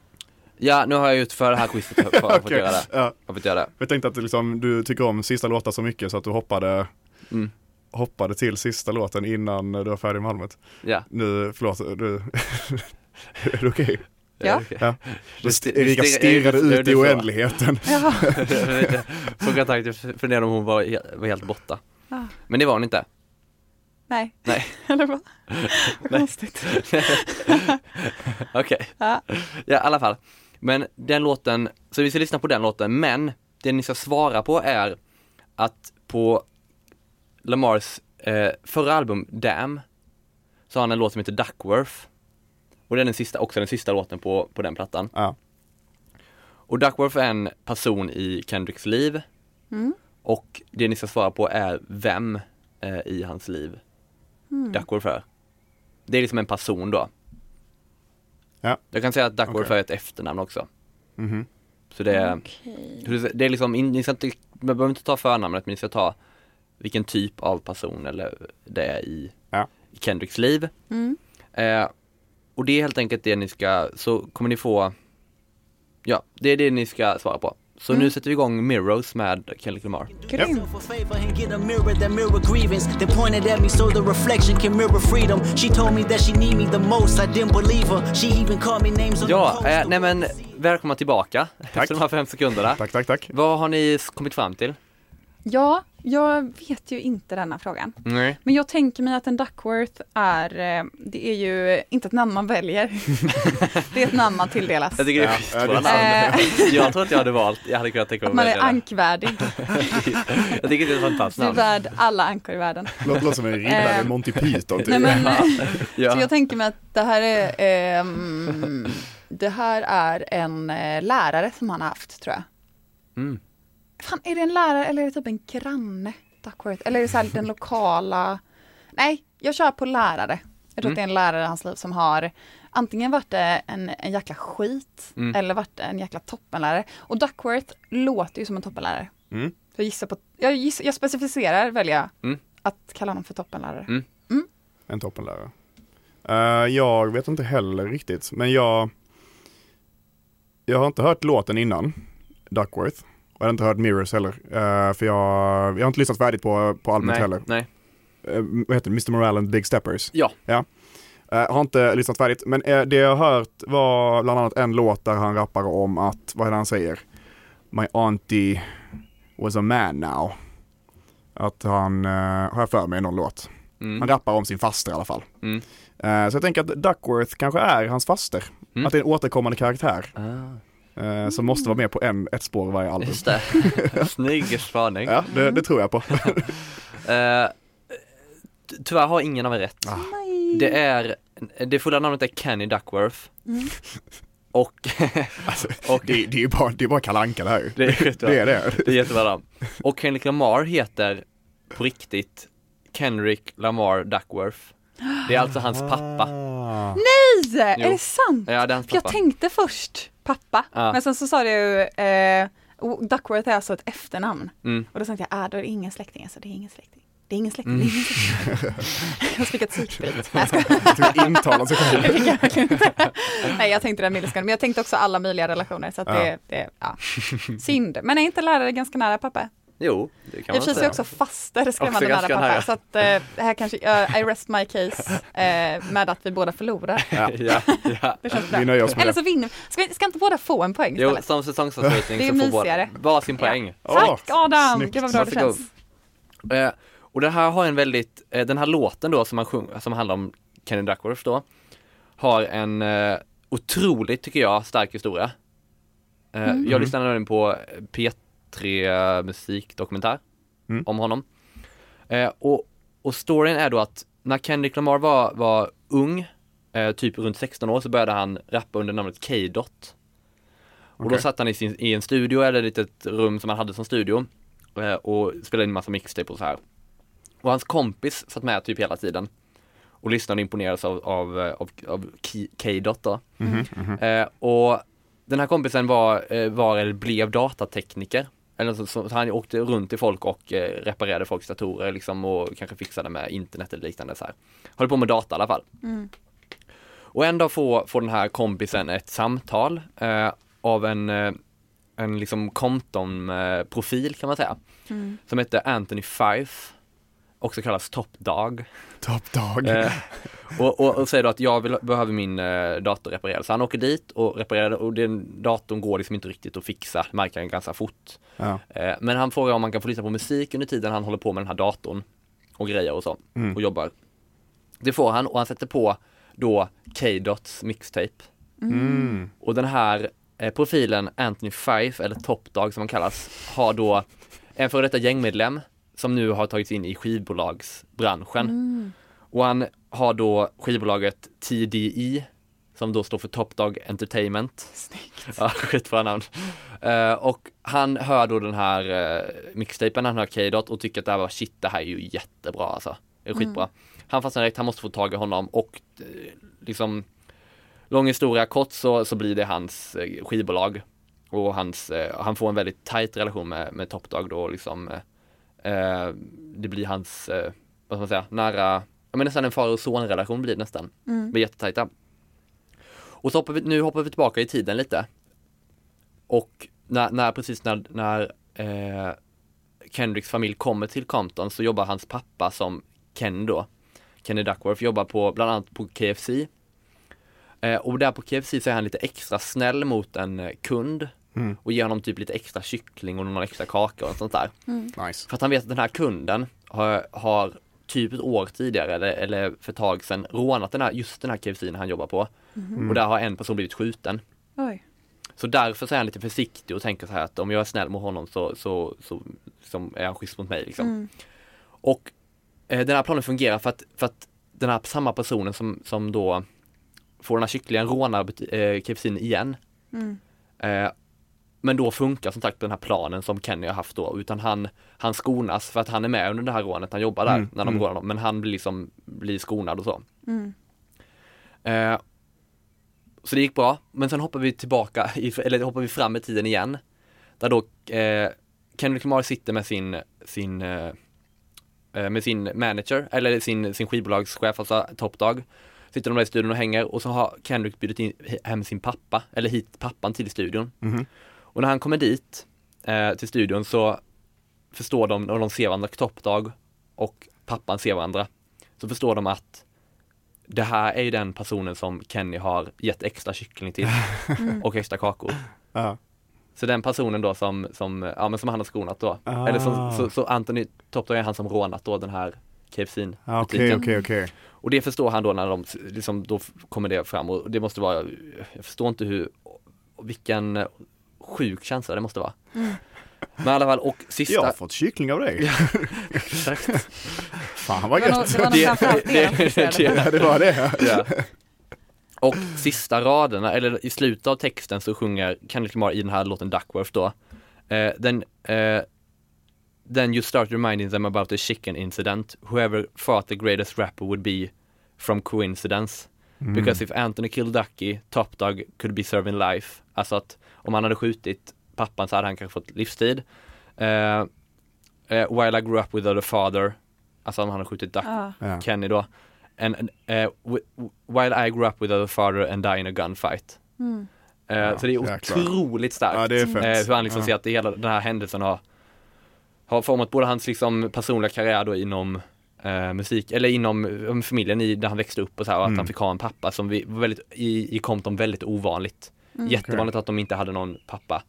Ja, nu har jag gjort för det här quizet har jag fått [laughs]
Okej.
göra det.
Ja,
Jag har fått göra det.
jag tänkte att liksom, du tycker om sista låtar så mycket så att du hoppade,
Mm.
hoppade till sista låten innan du var färdig med albumet.
[laughs] Ja.
Nu, förlåt, du... [laughs] är det okej?
Ja.
Okej.
Ja.
Du
Okay?
sti-
Erika
du stirrar-
stirrade
du-
ut
du
i
så.
oändligheten. [laughs]
Jag vet inte. På kontakt, jag funderade om hon var, he- var helt borta.
Ah.
Men det var hon inte.
Nej.
Nej.
[laughs] Eller vad? Konstigt.
[laughs] Okej.
Ja.
Ja, i alla fall. Men den låten, så vi ska lyssna på den låten, men det ni ska svara på är att på Lamars eh, förra album Damn så har han en låt som heter Duckworth. Och det är den sista, också den sista låten på, på den plattan.
Ja.
Och Duckworth är en person i Kendricks liv. Och det ni ska svara på är vem eh, i hans liv Duckworth är. Det är liksom en person då.
Ja.
Jag kan säga att Duckworth
Okej. Mhm.
är ett efternamn också. Så det är, så det- det är liksom, in- ni ska inte, man behöver inte ta förnamnet men ni ska ta vilken typ av person eller det är i,
Ja.
i Kendricks liv. Eh, och det är helt enkelt det ni ska, så kommer ni få, ja, det är det ni ska svara på. Så nu sätter vi igång Mirrors med Kendrick Lamar.
Grymt.
For favor and get a mirror that mirror grievance. They pointed at me so the reflection can mirror freedom. She told me that she need me the most. I didn't believe her. She even called me names on the
Ja,
post.
eh, nej men välkomna tillbaka efter [laughs] de här fem sekunderna.
Tack, tack, tack.
Vad har ni s- kommit fram till?
Ja, jag vet ju inte denna frågan.
Nej.
Men jag tänker mig att en Duckworth är, eh, det är ju inte ett namn man väljer. [laughs] det är ett namn man tilldelas.
Jag tycker det är
Ja,
skitbra
ja, det
namn.
Eh,
Jag tror att jag hade valt, jag hade kunnat tänka mig
att man är
välja det.
ankvärdig.
Jag tycker det är ett fantastiskt
Du är
namn.
värd alla ankor
[laughs]
i världen.
Låter låter som en riddare i
Eh.
Monty Python typ.
Nej, men, Så
Ja.
jag tänker mig att det här är, ehm, det här är en eh, lärare som han har haft tror jag.
Mm.
Fan, är det en lärare eller är det typ en granne? Duckworth? Eller är det så här den lokala? Nej, jag kör på lärare. Jag tror att det
Mm.
är en lärare i hans liv som har antingen varit eh, en, en jäkla skit
Mm.
eller varit en jäkla toppenlärare. Och Duckworth låter ju som en toppenlärare.
Mm.
Så jag gissar på, jag, gissar, jag specificerar väljer jag
Mm.
att kalla honom för toppenlärare.
En toppenlärare. Eh, jag vet inte heller riktigt, men jag Jag har inte hört låten innan, Duckworth. Och jag har inte hört Mirrors heller, eh, för jag, jag har inte lyssnat färdigt på, på albumet
Nej,
heller.
nej.
Eh, vad heter det? Mr. Morale and the Big Steppers.
Ja.
Eh, har inte lyssnat färdigt, men eh, det jag har hört var bland annat en låt där han rappar om att, vad är det han säger? My auntie was a man now. Att han, eh, har jag för mig i någon låt.
Mm.
Han rappar om sin faster i alla fall.
Mm.
Eh, så jag tänker att Duckworth kanske är hans faster.
Mm.
Att det är en återkommande karaktär
Ah,
eh, som måste vara med på en, ett spår i varje
[laughs]
album.
just det. Snygg spaning.
Ja, det, det tror
[laughs]
jag på.
Eh, ty- tyvärr har ingen av er rätt. Det är, det fulla namnet är Kenny Duckworth.
Mm.
Och,
alltså,
och
det, det är ju bara, det är bara kalanka det här ju.
det är skitbra.
Det är det. [laughs]
Det är jättebra namn. Och Kendrick Lamar heter på riktigt Kendrick Lamar Duckworth. Det är alltså hans pappa.
Nej,
Jo.
är det sant?
Ja, det är hans
För jag
pappa.
tänkte först pappa,
Ja.
men sen så sa du ju eh, och Duckworth är alltså ett efternamn.
Mm.
Och då tänkte jag, äh, då är det ingen släkting alltså, det är ingen släkting. Det är ingen släkting, det är ingen släkting. [laughs] jag fick ett psykbryt. Nej, jag skojar.
Jag tror intalan sig själv.
Det fick jag verkligen inte. Nej, jag tänkte den milliskan, men jag tänkte också alla möjliga relationer. Så att det, det, ja. Synd. Men är inte lärare ganska nära pappa?
Jo, det
I
kan man
och för sig är
säga.
också faster skrämmande nära
ganska
pappa.
nära.
Så att eh, det här kanske, eh, I rest my case eh, med att vi båda förlorar.
[laughs] Ja, ja.
Det känns bra.
Vi nöjer oss med
Eller
det.
så vinner ska, vi- ska inte båda få en poäng
Jo,
istället?
som säsongsavslutning
Det är
så får båda
mysigare.
varsin poäng.
Åh,
Tack Adam!
snyggt.
Gud vad bra det
Varsågod.
känns.
Eh, och det här har en väldigt, eh, den här låten då som, han sjung, som handlar om Kenny Duckworth då, har en eh, otroligt, tycker jag, stark historia. Eh,
Mm.
Jag lyssnade nämligen på P3 musikdokumentär
Mm.
om honom. Eh, och, och storyn är då att när Kendrick Lamar var, var ung, eh, typ runt 16 år, så började han rappa under namnet K-Dot. Och då
Okej.
satt han i, sin, i en studio eller ett litet rum som han hade som studio eh, och spelade in massa mixtape och så här. Och hans kompis satt med typ hela tiden och lyssnade och imponerades av, av, eh, av, av K- K-Dot då. Eh, och den här kompisen var, eh, var eller blev datatekniker. Eller så, så, så han åkte runt till folk och eh, reparerade folks datorer liksom och kanske fixade med internet eller liknande så här. Höll på med data i alla fall. Och en dag får, får den här kompisen ett samtal eh, av en, eh, en liksom Compton-profil kan man säga. Som heter Anthony Fife, också kallas Top Dog.
Top dog.
Eh, och, och, och säger då att jag vill, behöver min eh, dator reparerad. Så han åker dit och reparerar den, och den datorn går liksom inte riktigt att fixa, märker han ganska fort.
Ja.
Eh, men han frågar om han kan få lyssna på musik under tiden han håller på med den här datorn och grejer och så
Mm.
och jobbar. Det får han och han sätter på då K-Dots mixtape.
Mm.
Och den här eh, profilen Anthony Fife, eller Top Dog som han kallas, har då en före detta gängmedlem som nu har tagits in i skivbolagsbranschen. Och han har då skivbolaget TDI som då står för Top Dog Entertainment. Snyggt! Ja, [laughs] skitbra namn. Eh, och han hör då den här uh, mixtapen, han hör K-Dot och tycker att det här var shit, det här är ju jättebra alltså. Det är skitbra. Han fastnar direkt, han måste få tag i honom och eh, liksom lång historia kort så, så blir det hans eh, skivbolag och hans, eh, han får en väldigt tajt relation med, med Top Dog då liksom eh, eh, det blir hans, eh, vad ska man säga, nära, ja men nästan en far och son relation blir det nästan. Mm. Blir jättetajta. Och så hoppar vi, nu hoppar vi tillbaka i tiden lite. Och när, när precis när, när eh, Kendricks familj kommer till Compton så jobbar hans pappa som Ken då. Kenny Duckworth jobbar på, bland annat på KFC. Eh, och där på KFC så är han lite extra snäll mot en eh, kund och ger honom typ lite extra kyckling och någon extra kaka och sånt där.
Nice.
För att han vet att den här kunden har, har typ ett år tidigare eller, eller för ett tag sedan rånat den här, just den här KFC'n han jobbar på. Och där har en person blivit skjuten.
Oj.
Så därför så är han lite försiktig och tänker så här att om jag är snäll mot honom så, så, så, liksom är han schysst mot mig. Liksom. Och eh, den här planen fungerar för att, för att den här samma personen som, som då får den här kycklingen rånar bet- eh, KFC'n igen. Eh, men då funkar som sagt den här planen som Kenny har haft då utan han, han skonas för att han är med under det här rånet, han jobbar där
Mm,
när de
mm.
rånar honom men han blir liksom blir skonad och så. Eh, så det gick bra, men sen hoppar vi tillbaka, i, eller hoppar vi fram i tiden igen. Där då eh, Kendrick Lamar sitter med sin, sin, eh, eh, med sin manager, eller sin, sin skivbolagschef, alltså Top Dog. Sitter de där i studion och hänger och så har Kendrick bjudit in he- hem sin pappa, eller hit pappan till studion.
Mhm.
Och när han kommer dit, eh, till studion så förstår de, när de ser varandra, Top Dog och pappan ser varandra, så förstår de att det här är ju den personen som Kenny har gett extra kyckling
[laughs]
till och extra kakor.
Mm. Ja.
Så den personen då som, som, ja, men som han har skonat då.
Ah.
Eller så, så, så Anthony Topdog är han som rånat då den här KFC'n.
Ah, Okej,
butiken.
okej, okej.
Och det förstår han då när de, s- liksom, då f- kommer det fram och det måste vara, jag förstår inte hur, vilken sjuk känsla det måste vara. Men i alla fall, och sista,
Jag har fått kyckling av dig. [laughs]
exakt. alltså-
Fan vad
Det var nog-
gött.
det var nog
[laughs]
framförallt det de fixade.
Ja, det var det.
Ja. Och sista raderna, eller i slutet av texten så sjunger Kendrick Lamar i den här låten Duckworth då. Eh, then, eh, then you start reminding them about the chicken incident. Whoever thought the greatest rapper would be from coincidence.
Mm.
Because if Anthony killed Ducky, Top Dog could be serving life. Alltså att om han hade skjutit pappan så hade han kanske fått livstid. Eh, eh, while I grew up without a father. Alltså om han hade skjutit Ducky.
Ja.
Kenny då. And, and, eh, wi- while I grew up without a father and die in a gunfight. Eh, så det är
jäklar.
otroligt starkt.
Ja, det är fett.
Eh, hur han liksom
Ja.
ser att det hela den här händelsen har, har format både hans liksom personliga karriär då inom eh, musik, eller inom eh, familjen i, där han växte upp och så här,
Mm.
och att han fick ha en pappa som vi, var väldigt, i, i Compton väldigt ovanligt. Jättevanligt att de inte hade någon pappa.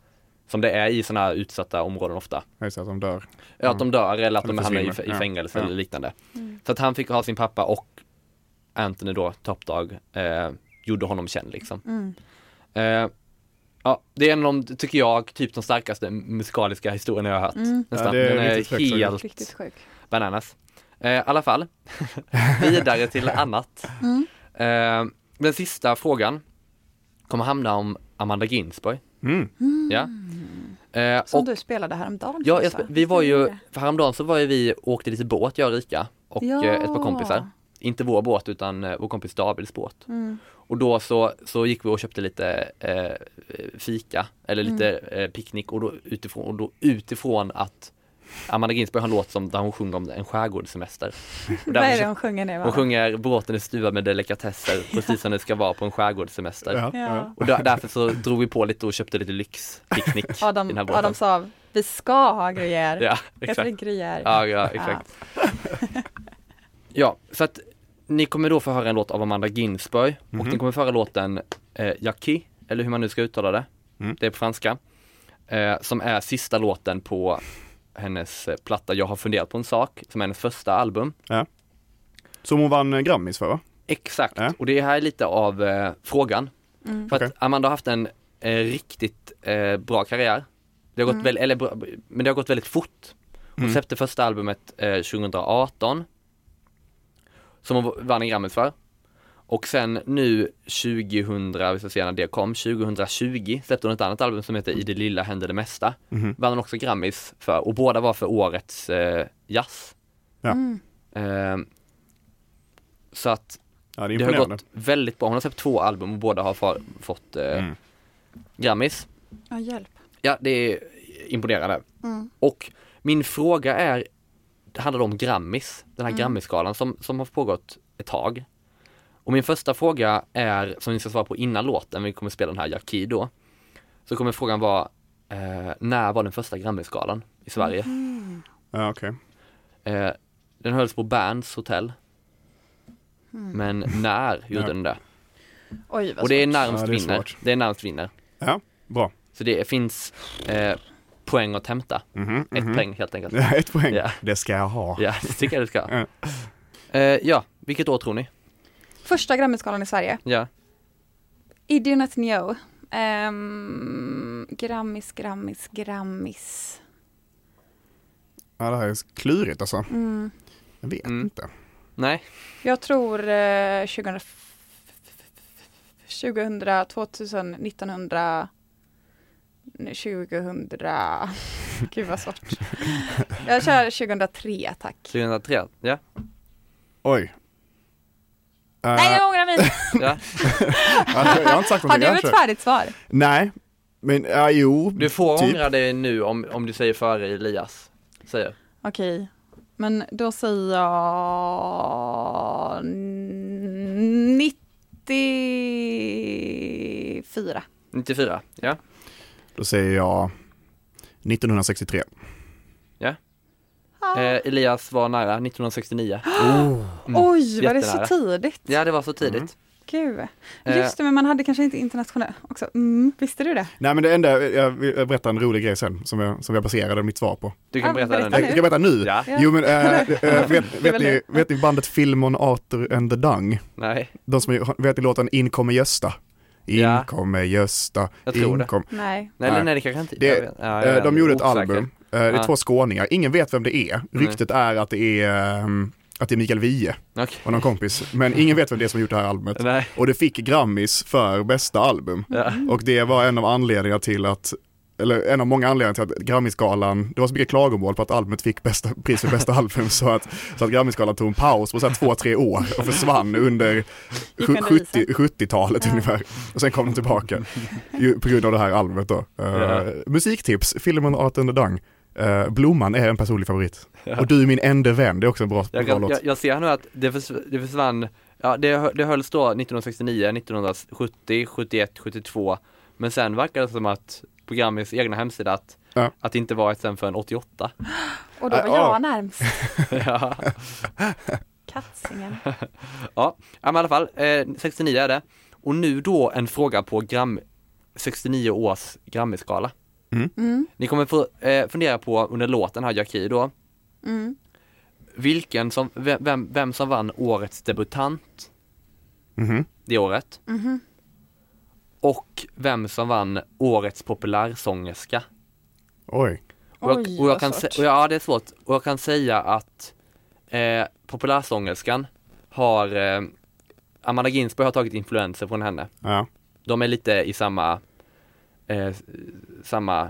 Som det är i sådana här utsatta områden ofta.
Jag säger att de dör.
Ja, att de dör eller att
Eller
de hamnar i,
försvinner.
i
Ja.
fängelse
Ja.
eller liknande.
Mm.
Så att han fick ha sin pappa och Anthony då, Top Dog, eh, gjorde honom känd liksom.
Mm.
Eh, ja, det är en av de, tycker jag, typ de starkaste musikaliska historierna jag har hört. Nästan.
Ja, det är
Den är
riktigt fräckt faktiskt.
helt
Mm. Riktigt sjuk.
bananas. Eh, I alla fall, [laughs] vidare
[laughs]
till annat.
Mm.
Eh, den sista frågan kommer hamna om Amanda Ginsberg.
Mm.
Ja. Eh,
Som
och-
du spelade häromdagen.
Ja, jag,
Lisa.
sp- vi var ju, för häromdagen så var ju vi och åkte lite båt jag och Rika och
Ja.
eh, ett par kompisar. Inte vår båt utan eh, vår kompis Davids båt.
Mm.
Och då så, så gick vi och köpte lite eh, fika eller lite
Mm.
eh, picknick och då utifrån, och då utifrån att Amanda Ginsberg har en låt som, där hon sjunger om en
[laughs]
skärgårdssemester. Och där
Vad
hon
är det
kö-
hon sjunger nu?
hon
Anna?
sjunger båten är stuvad med delikatesser precis som det ska vara på en skärgårdssemester.
Ja.
Ja.
Och där, därför så drog vi på lite och köpte lite lyxpicknick i den här
[laughs] Adam,
båten.
Adam sa, vi ska ha gruyère.
ja,
Heter
exakt.
det gruyère?
Ja, ja exakt. [laughs] ja, så att ni kommer då få höra en låt av Amanda Ginsberg och ni kommer få höra låten eh, Jackie, eller hur man nu ska uttala det. Det är på franska. Eh, som är sista låten på hennes eh, platta Jag har funderat på en sak, som är hennes första album.
Som hon vann eh, Grammis för va?
Exakt,
Ja.
och det här är lite av eh, frågan. För att
Okej.
Amanda har haft en eh, riktigt eh, bra karriär. Det har gått väl, eller, bra- men det har gått väldigt fort. Hon
Mm.
släppte första albumet eh, 2018. Som hon vann en Grammis för. Och sen nu 2000, vi ska se när det kom, 2020 släppte hon ett annat album som heter I det lilla händer det mesta.
Mm-hmm.
Vann hon också Grammis för och båda var för årets eh, jazz.
Ja.
Eh, så att
Ja, det är
det har
imponerande.
gått väldigt bra. Hon har släppt två album och båda har fa- fått eh,
Mm.
Grammis.
Ja, hjälp.
Ja, det är imponerande. Och min fråga är, det handlar om Grammis, den här Grammisgalan som, som har pågått ett tag. Och min första fråga är, som ni ska svara på innan låten, vi kommer spela den här Jackie då. Så kommer frågan vara, Eh, när var den första Grammyskalan i Sverige?
Ja, okej.
Eh, den hölls på Berns hotell. Men när gjorde
Ja.
den det?
Oj, vad
Och det är
Ja,
närmst
det är
vinner.
svårt.
Det är närmst vinner.
Ja, bra.
Så det finns eh, poäng att hämta.
Mhm,
Ett
mhm.
poäng helt enkelt.
Ja, [laughs] ett poäng.
Ja.
Det ska jag ha.
[laughs] Ja, det tycker jag du ska.
Ja.
Eh, ja, vilket år tror ni?
Första Grammyskalan i Sverige.
Ja,
Idionet Neo. Ehm, grammis, grammis, grammis.
Ja, det här är klurigt alltså.
Mm.
Jag vet
Mm.
inte.
nej,
Jag tror eh, 2000, 2000, 2000, 1900, nu 2000.
[laughs]
Gud vad svårt. Jag kör 2003 tack.
2003. Ja,
Oj. Eh,
Nej,
Äh,
jag
[laughs]
ångrar mig.
ja.
alltså, jag
[laughs]
har inte sagt
Har du
någonting än,
ett
tror jag.
färdigt svar?
Nej, men ja, jo.
Du får
typ.
ångra dig nu om, om du säger före Elias säger.
Okej, men då säger jag 94.
94. Ja,
Då säger jag 1963.
eh, Elias var nära 1969.
Oj, var det så
jättenära.
tidigt?
Mm. Ja, det var så tidigt.
Mhm.
Gud.
Eh.
Just det, men man hade kanske inte internationell också. Mm, visste du det?
Nej men det enda, jag vill berätta en rolig grej sen som jag, som jag baserade mitt svar på.
Du kan
Ja,
berätta
berätta
den nu.
nu.
Jag, jag kan berätta nu.
Ja. [laughs]
Jo men eh, eh, vet,
Det är
vet,
väl
ni,
det.
vet ni bandet Filmon Arthur and the Dung?
Nej,
De som, är- vet ni låten In kommer Gösta? In
Ja.
kommer Gösta,
Jag tror
in
det.
kom.
Nej.
nej,
Nej.
nej, nej det kanske inte.
Det-
jag vet. Ja,
Eh,
jag
De
är
gjorde ett
osäker.
album, Eh, det är
Ja. Mm.
två skåningar, ingen vet vem det är.
Nej.
Ryktet är att det är, ehm, att det är Mikael Wiehe
Okej.
och någon kompis, men ingen vet vem det är som har gjort det här albumet.
Nej,
Och det fick Grammis för bästa album.
ja.
Och det var en av anledningarna till att, eller en av många anledningar till att Grammisgalan, det var så mycket klagomål på att albumet fick bästa, pris för bästa album så att, så att Grammisgalan tog en paus på så här två, tre år och försvann under
Gick under
sju- 70
isen.
70-talet ungefär. Och sen kom de tillbaka ju, på grund av det här albumet då. Eh,
Ja.
Musiktips, filmen Art and the Dung. Eh, Blomman är en personlig favorit. Och du är min enda vän, det är också en bra,
Jag,
bra
kan,
låt.
jag, jag ser nu att det, försv, det försvann, ja det, hö- det hölls då 1969, 1970, 71, 72 Men sen verkar det som att programmets egna hemsida att,
Ja.
att det inte var ett sen förrän 88
Och då var
Äh, ja.
[laughs]
jag närmst.
ja.
Katsingen.
ja, men i alla fall, eh, 69 är det Och nu då en fråga på gram, 69 års Grammisgala
Mm,
Ni kommer få eh, fundera på under låten här, Jackie då
mm.
Vilken som, vem, vem, vem som vann årets debutant
Mhm.
det året.
Mm-hmm.
Och vem som vann årets populärsångerska.
Oj.
Och jag,
Oj,
och jag
vad
kan
svårt.
sä- och ja, det är svårt. Och jag kan säga att eh, populärsångerskan har eh, Amanda Ginsberg har tagit influenser från henne.
Ja.
De är lite i samma eh, s- samma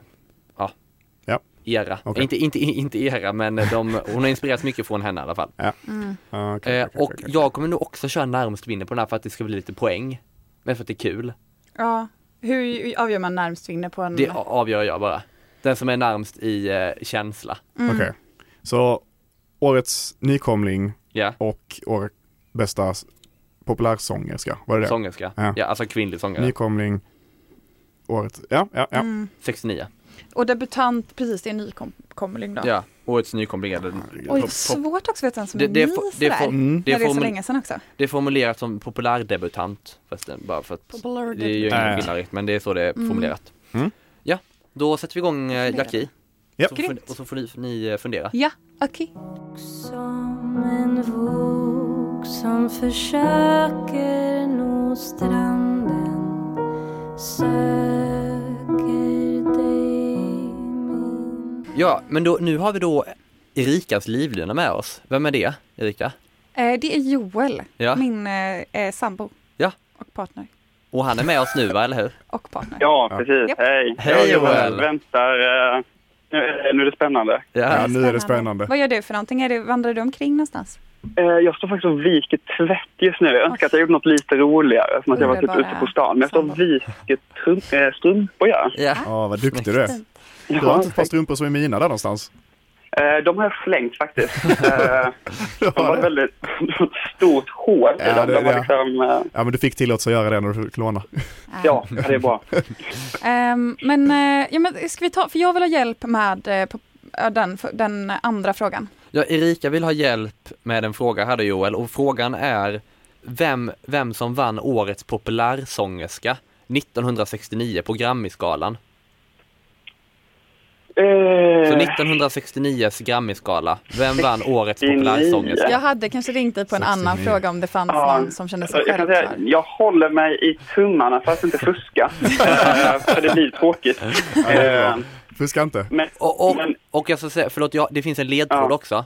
ja,
Ja.
era.
Okej.
Inte, inte, inte era, men de, hon har inspirerats mycket från henne i alla fall.
Ah, okej,
Eh,
okej,
och
okej, okej.
jag kommer nog också köra närmst vinner på den här för att det ska bli lite poäng. Men för att det är kul.
Ja. Hur avgör man närmst vinner på en...
Det a- avgör jag bara. Den som är närmst i eh, känsla.
Okej. Så årets nykomling
Ja,
och årets bästa s- populärsångerska, var det det?
sångerska.
Ja.
Ja. alltså kvinnlig sångare.
Nykomling, året, ja, ja, ja.
69.
Och debutant, precis, det är en nykomling då.
Ja, årets nykomling. är den-
Oj,
pop- pop-
svårt också att veta vem som
Det-
är
det är
ny
fo-
sådär.
det är fo-
Mm.
När det
det är
är så
formu-
länge sedan också.
Det är formulerat som populärdebutant. Förresten, bara för att det är ju ingen
Populärdebutant.
skillnad riktigt, men det är så det är formulerat.
Mm.
Ja, då sätter vi igång eh, Jackie.
Ja.
Så får- Och så får ni, ni eh, fundera.
Ja, okej.
Som en våg som försöker nå stranden söker dig min
Ja, men då, nu har vi då Erikas livlina med oss. Vem är det, Erika?
Eh, det är Joel,
Ja.
min eh, eh, sambo.
Ja.
Och partner.
Och han är med oss nu va, eller hur?
Och partner.
Ja, precis.
Japp.
Hej!
Hej,
Jag
Joel.
väntar. eh, Nu är det, nu är det spännande.
Ja, nu är det spännande.
Vad gör du för någonting? Är det, vandrar du omkring någonstans?
Eh, Jag står faktiskt och viker tvätt just nu. Jag önskar att jag gjorde något lite roligare, som att jag var typ
Underbara
ute på stan. Men jag står och viker trum- eh, strumpor, ja.
Ja.
Ja, vad duktig du är.
Fint.
Du har inte ett par strumpor som är mina där någonstans?
Eh, de har jag slängt faktiskt. Eh, de har ett väldigt [laughs] stort hål i
Ja,
dem.
det-
De var
ja.
liksom, eh,
Ja men du fick tillåtelse att göra det när du fick låna.
ja, det är bra.
Ehm, men, eh, ja, men ska vi ta, för jag vill ha hjälp med eh, på, ja, den, för- den andra frågan.
Ja, Erika vill ha hjälp med en fråga hade Joel och frågan är vem, vem som vann årets populärsångerska 1969 på Grammyskalan.
Eh,
Så 1969s Grammyskala, vem vann årets
69?
populärsångerska?
Jag hade kanske ringt dig på en annan
69.
fråga om det fanns
Ja.
någon som kändes så
Eh, jag, kan säga,
självklar.
jag håller mig i tummarna för att inte fuska. Eh, för det blir tråkigt. [laughs] Eh,
Fuska inte.
men,
Och, och,
men,
och jag ska säga, förlåt, jag, det finns en ledtråd
Ja.
också.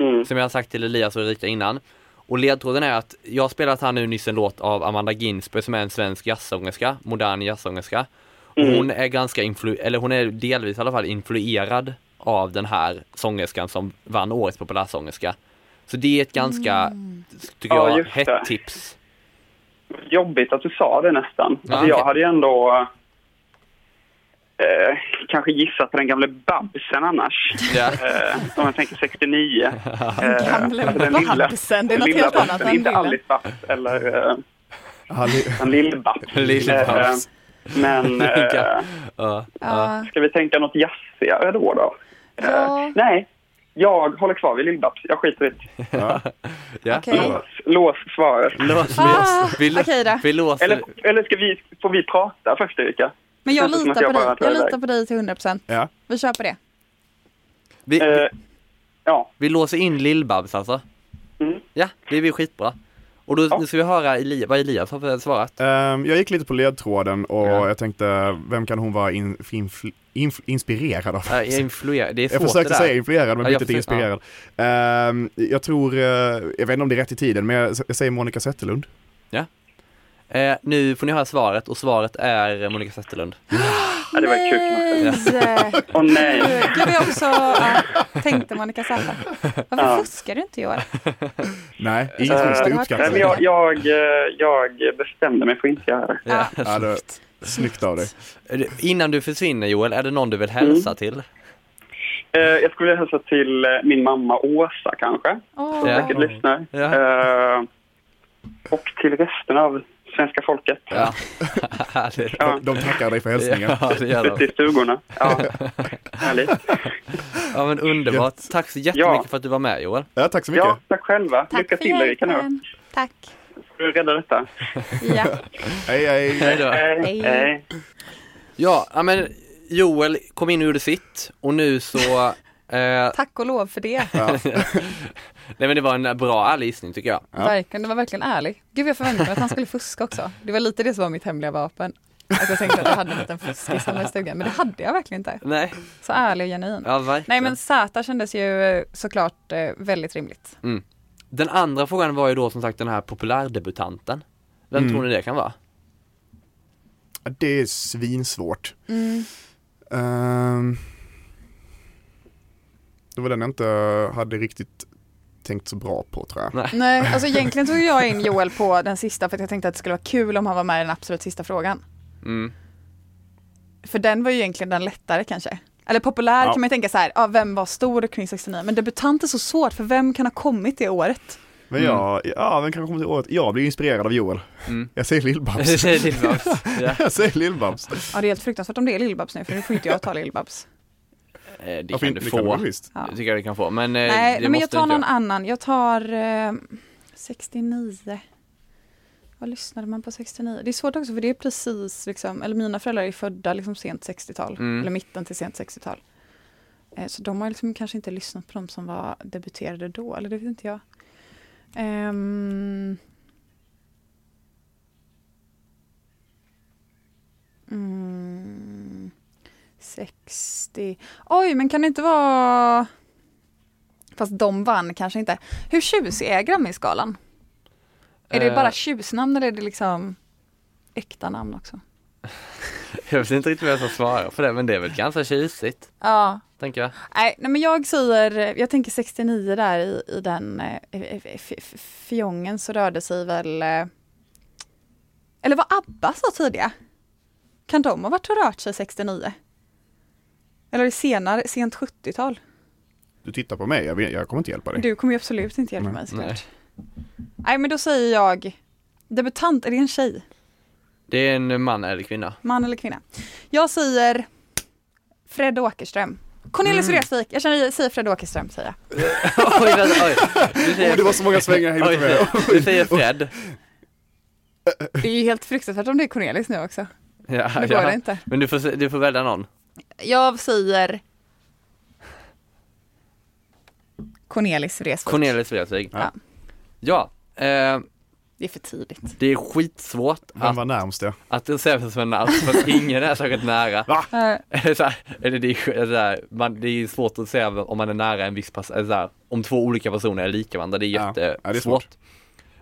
mm,
som jag har sagt till Elias och Erika innan. Och ledtråden är att jag har spelat här nu nyss en låt av Amanda Ginsberg som är en svensk jazzsångerska, modern jazzsångerska. Och
Mm.
Hon är ganska influ- eller hon är delvis i alla fall influerad av den här sångerskan som vann årets populärsångerska. Så det är ett ganska, tycker
Mm. Ja,
jag,
just det.
hett tips.
jobbigt att du sa det nästan.
Ja.
Alltså, jag hade ju ändå... Eh, kanske gissat på den gamla Babsen annars.
Ja. [laughs]
Eh, om jag tänker 69. Eh,
Gamla
alltså den lilla-
Babsen, det är
den
något
lilla
helt annat
Babsen,
än
Inte
lilla.
Alice Babs eller eh,
Ja, li-
en Lill-Babs.
Lill-Babs.
Eh,
[laughs]
men eh,
Ja.
Ja.
ska vi tänka något jazzigare då? då? Eh,
Ja.
Nej, jag håller kvar vid Lill-Babs. Jag skiter i det.
Ja.
Okej.
Lås, lås svaret.
Lås,
Ah,
vi, lå-
okej då.
vi låser.
Eller, eller ska vi, får vi prata först Erika?
Men jag
Det känns som att
litar på
jag bara
dig.
tar
Jag
det där.
litar på dig till 100 procent.
Ja.
Vi kör på det.
Vi,
Eh, ja,
Vi låser in Lill-Babs alltså?
Mm.
Ja, det blir skitbra. Och då nu ska vi höra Eli- vad Elias har för- svarat.
Ehm, jag gick lite på ledtråden och
Ja.
jag tänkte, vem kan hon vara in, influ, inf, inspirerad av?
Äh, influer- det är
Jag
svårt det
försökte
där.
säga influerad men
Ja, jag
bytte till
försökte-
inspirerad. Ehm, jag tror, eh, jag vet inte om det är rätt i tiden, men jag, jag säger Monica Zetterlund.
Eh, nu får ni höra svaret och svaret är Monica Zetterlund.
ja, det var ett kul.
Nej!
Åh nej,
Gud, jag också ja, tänkte Monica Zäta. Varför fuskar du inte i år?
Nej, inget
Eh,
fusk, det
nej,
uppskattar
men
jag.
jag, jag, eh, jag bestämde mig för att inte göra det.
Ja.
Ja, det, snyggt av dig.
Eh, Innan du försvinner Joel, är det någon du vill
Mm.
hälsa till?
Eh, jag skulle vilja hälsa till eh, min mamma Åsa kanske,
Åh.
Ja.
vilket lyssnar.
Ja.
Eh, och till resten av svenska folket.
Ja. [laughs] Härligt.
Ja,
De tackar dig för hälsningen.
Ja, det gör
ute
de.
i stugorna. Ja, härligt.
ja men underbart. Tack så jättemycket
Ja.
för att du var med Joel.
Ja, tack så mycket.
Ja, tack själva.
Tack
Lycka
för
till Erika nu.
hjälpen. Tack.
Får du rädda detta?
Ja.
Hej,
Eh,
hej.
Hej då.
Hej. Hej.
Ja, ja, men Joel kom in och gjorde sitt och nu så eh,
Tack och lov för det.
Nej men det var en bra ärlig gissning tycker jag.
Verkligen, det var verkligen ärlig. Gud jag förväntade mig att han skulle fuska också. Det var lite det som var mitt hemliga vapen. Att jag tänkte att jag hade en liten fuskis hemma i stugan, men det hade jag verkligen inte.
Nej,
Så ärlig och genuin.
ja verkligen.
Nej men Zäta kändes ju eh, såklart eh, väldigt rimligt.
Den andra frågan var ju då som sagt den här populärdebutanten. Vem
Mm.
tror ni det kan vara?
Ja, Det är svinsvårt. Ehm, det var den jag inte hade riktigt tänkt så bra på tror jag.
Nej.
Nej, [laughs] alltså egentligen tog jag in Joel på den sista för att jag tänkte att det skulle vara kul om han var med i den absolut sista frågan.
Mm.
För den var ju egentligen den lättare kanske. Eller populär
Ja.
kan man ju tänka så här, ja, vem var stor kring 69? Men debutant är så svårt för vem kan ha kommit det året?
Men jag,
Mm.
ja, vem kanske kommer till året? Jag blir inspirerad av Joel. Jag
[laughs]
säger Lill-Babs.
Lill-Babs. Ja.
[laughs] jag säger Lill-Babs.
Ja det är helt fruktansvärt om det är Lill-Babs nu för nu får inte jag ta Lill-Babs.
Eh, Det
Varför
kan
inte?
du
Det kan
få.
man visst.
Ja.
Det tycker jag du kan få. Men,
Nej,
det
nej men jag
eh, måste
tar
inte
någon annan. Jag tar eh, 69. Vad lyssnade man på 69? Det är svårt också för det är precis liksom, eller mina föräldrar är födda liksom sent 60-tal.
Mm.
Eller mitten till sent 60-tal. Eh, så de har liksom kanske inte lyssnat på de som var debuterade då, eller det vet inte jag. Ehm. Mm. 60. Oj, men kan det inte vara... Fast de vann kanske inte. Hur tjusig är Grammisgalan? Är det
Eh.
bara tjusnamn eller är det liksom äkta namn också?
Jag vet inte riktigt vad jag ska svara på det, men det är väl ganska tjusigt,
Ja.
tänker jag.
Nej, nej men jag säger, jag tänker 69 där i, i den eh, f- f- f- fjongen så rörde sig väl... eh, Eller vad ABBA sa tidigare? Kan de ha varit och rört sig 69? Eller är det senare, sent 70-tal?
du tittar på mig, jag, vet- jag kommer inte hjälpa dig.
Du kommer ju absolut inte hjälpa
Nej.
mig såklart. Nej. men då säger jag debutant, är det en tjej?
Det är en man eller
[laughs]
kvinna.
Man eller kvinna? Jag säger Fred Åkerström. Cornelis Vreeswijk, jag känner, jag säger Fred Åkerström säger jag.
oj, vänta, oj. Du säger,
Det var så många svängar jag
oj,
hängde med.
du säger Fred.
[laughs] Det är ju helt fruktansvärt om det är Cornelis nu också.
[laughs] Ja,
Det går
ja.
det inte.
Men du får, se- du får välja någon.
Jag säger Cornelis Vreeswijk.
Cornelis Vreeswijk.
Ja.
Ja, eh,
Det är för tidigt.
det är skitsvårt
Vem
att,
var närmst ja?
att säga vem som är närmast för att ingen är särskilt nära.
Eh,
Eller så här, eller det, är, ju- eller så här, man, det är svårt att säga om man är nära en viss person, eller så här, om två olika personer är lika varandra, det är
Ja,
jättesvårt.
ja, det är svårt.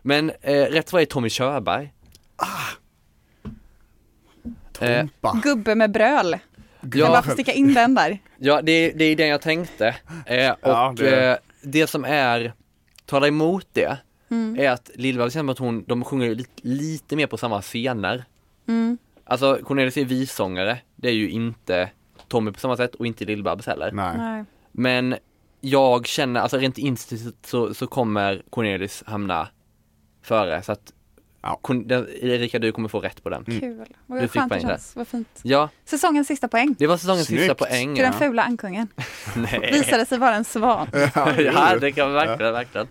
Men eh, rätt svar är Tommy Körberg. Eh, Ah. Eh,
Tompa.
Gubbe med bröl. Jag
ja, Mm.
bara får sticka
[laughs]
in den där.
ja det, är- det är den jag tänkte. Eh, och
Ja, det
det,
är det.
Eh, det som är, talar emot det, är att lill känns som att hon, de sjunger ju lite, lite mer på samma scener.
Mm.
Alltså Cornelis är vissångare, det är ju inte Tommy på samma sätt och inte lill heller.
Nej.
Men jag känner, alltså rent instinktivt så, så kommer Cornelis hamna före. Så att
Ja. Mm.
Corn- den, Erika, du kommer få rätt på den.
Kul.
Du
Vad
fick
skönt det
poäng där.
känns. Vad fint.
Ja,
Säsongens sista poäng.
det var säsongens sista
Snyggt.
poäng.
Till den
Ja.
fula
[laughs]
ankungen. Visade sig vara en svan.
ja, det kan man verkligen, verkligen.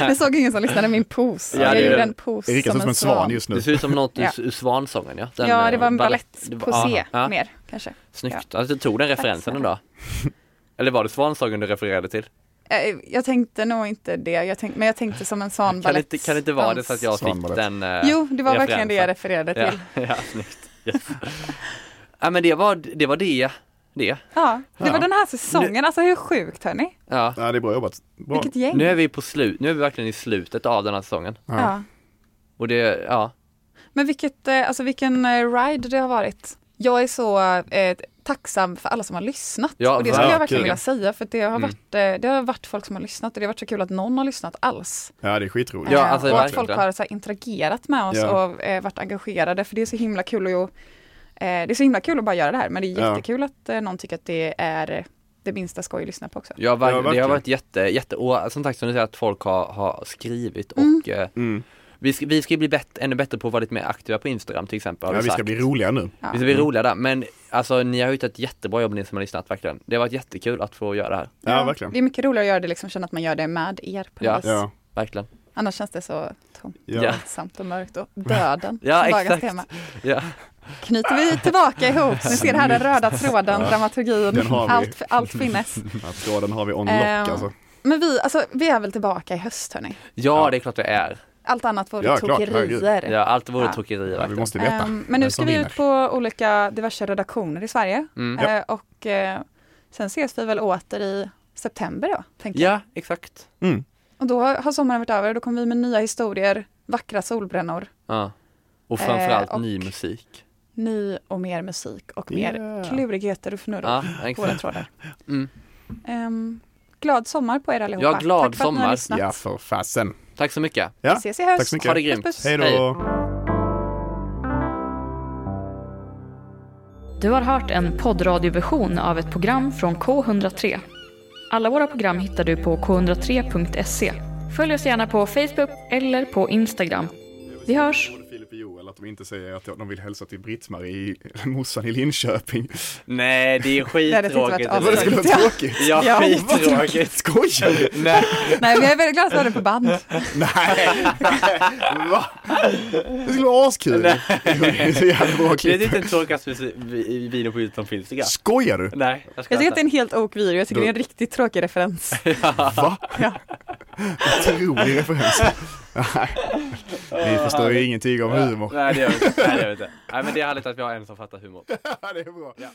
Jag såg ingen som lyssnade min pos.
Ja, det
jag
är-
gjorde en pos
Erika
som en svan.
just nu.
Det ser ut som något ur
Ja.
ur Svansången ja. Den,
Ja, det var en
eh,
balett,
det var-
på C
ja, ja.
mer kanske.
Snyggt, alltså, du tog den referensen ändå. Eller var det Svansången du refererade till?
Eh, Jag tänkte nog inte det, jag tänkte, men jag tänkte som en svanbalett.
Kan det, inte, kan det inte vara det så att jag fick
Svanballett.
den eh,
Jo, det var verkligen det jag
referensen?
refererade till.
[laughs] Ja, ja snyggt. Yes. ja, men det var det. Var det. det.
Ja, det var den här säsongen, alltså hur sjukt hörni?
Ja.
Ja, det är bra jobbat. Bra.
Vilket gäng.
Nu är vi på slut, nu är vi verkligen i slutet av den här säsongen.
ja.
Och det, ja,
Men vilket, eh, alltså vilken eh, ride det har varit. Jag är så eh, tacksam för alla som har lyssnat.
Ja, Mm.
och det skulle jag verkligen
verkligen.
vilja säga för att det har, varit, eh, det har varit folk som har lyssnat och det har varit så kul att någon har lyssnat alls.
Ja, det är skitroligt.
Ja,
Eh,
alltså,
och att
verkligen.
folk har så här, interagerat med oss
Ja.
och eh, varit engagerade för det är så himla kul att ju, eh, det är så himla kul att bara göra det här men det är
Ja.
jättekul att eh, någon tycker att det är det minsta skoj att lyssna på också.
jag har verkligen,
Ja, verkligen.
det har varit jätte, jätte, och som sagt som du säger att folk har, har skrivit och eh,
Mm.
vi, ska, vi ska bli bett, ännu bättre på att vara lite mer aktiva på Instagram till exempel. har
Ja,
du
vi ska
sagt.
bli roliga nu.
vi ska bli roliga där, men alltså ni har gjort ett jättebra jobb ni som har lyssnat verkligen. Det har varit jättekul att få göra det här,
Ja, verkligen.
Det är mycket roligare att göra det liksom, känna att man gör det med er på något
Ja.
vis.
Ja,
verkligen.
Annars känns det så tomt.
ja.
Ja.
Samt och mörkt och döden.
Ja,
som dagens
exakt.
tema.
Ja,
Knyter vi tillbaka ihop. Ni ser här den röda tråden, dramaturgin,
Den har vi.
allt, allt finnes.
ja tråden har vi on lock
Eh,
alltså.
Men vi, alltså, vi är väl tillbaka i höst hörni.
ja det är klart det är.
Allt annat vore
Ja, klart.
tokerier.
Ja, allt vore
Ja.
tokerier
Ja, vi
verkligen.
måste veta.
Ehm,
eh,
men nu
vem
ska
som
vi
vinner.
ut på olika diverse redaktioner i Sverige.
Mm.
Eh, och eh, sen ses vi väl åter i september då, tänker jag.
Ja, exakt.
Mm.
Och då har sommaren varit över och då kommer vi med nya historier, vackra solbrännor,
Ja. Och framförallt
Eh, och-
ny musik.
ny och mer musik och mer
Yeah.
klurigheter och fnurror.
Ja,
på våra
exakt.
trådar.
Mm.
Ehm, glad sommar på er allihopa.
Ja, glad
Tack för att ni har
sommar.
lyssnat.
Ja, för fasen.
Tack så mycket.
Ja,
Vi ses i höst.
tack så mycket.
Ha det grymt.
Puss, puss.
Hej då.
Hej.
Du har hört en poddradioversion av ett program från K103. Alla våra program hittar du på k103.se. Följ oss gärna på Facebook eller på Instagram. Vi hörs!
Både Filip och Joel att de inte säger att de vill hälsa till Britt-Marie, [laughs] morsan i Linköping.
Nej, det är
Det hade inte varit
skittråkigt.
Vad det skulle vara tråkigt.
Ja,
Ja.
skittråkigt.
Skojar du?
Nej,
Nej, men jag är väldigt glad att ha det
[laughs]
på band.
Nej! Va? [laughs] Det skulle vara askul! Det är så jävla bra
det är
klipp.
inte den tråkigaste vi- vi- videon på Youtube som finns tycker jag.
Skojar du?
Nej, jag ska
Jag tycker att det är en helt ok video. Jag tycker det är en riktigt tråkig referens.
Va? Otrolig referens. Nej. Vi förstår ju ingenting om humor.
Nej, det gör vi inte. Nej, det gör vi inte. Nej, men det är härligt att vi har en som fattar humor.
Det är bra.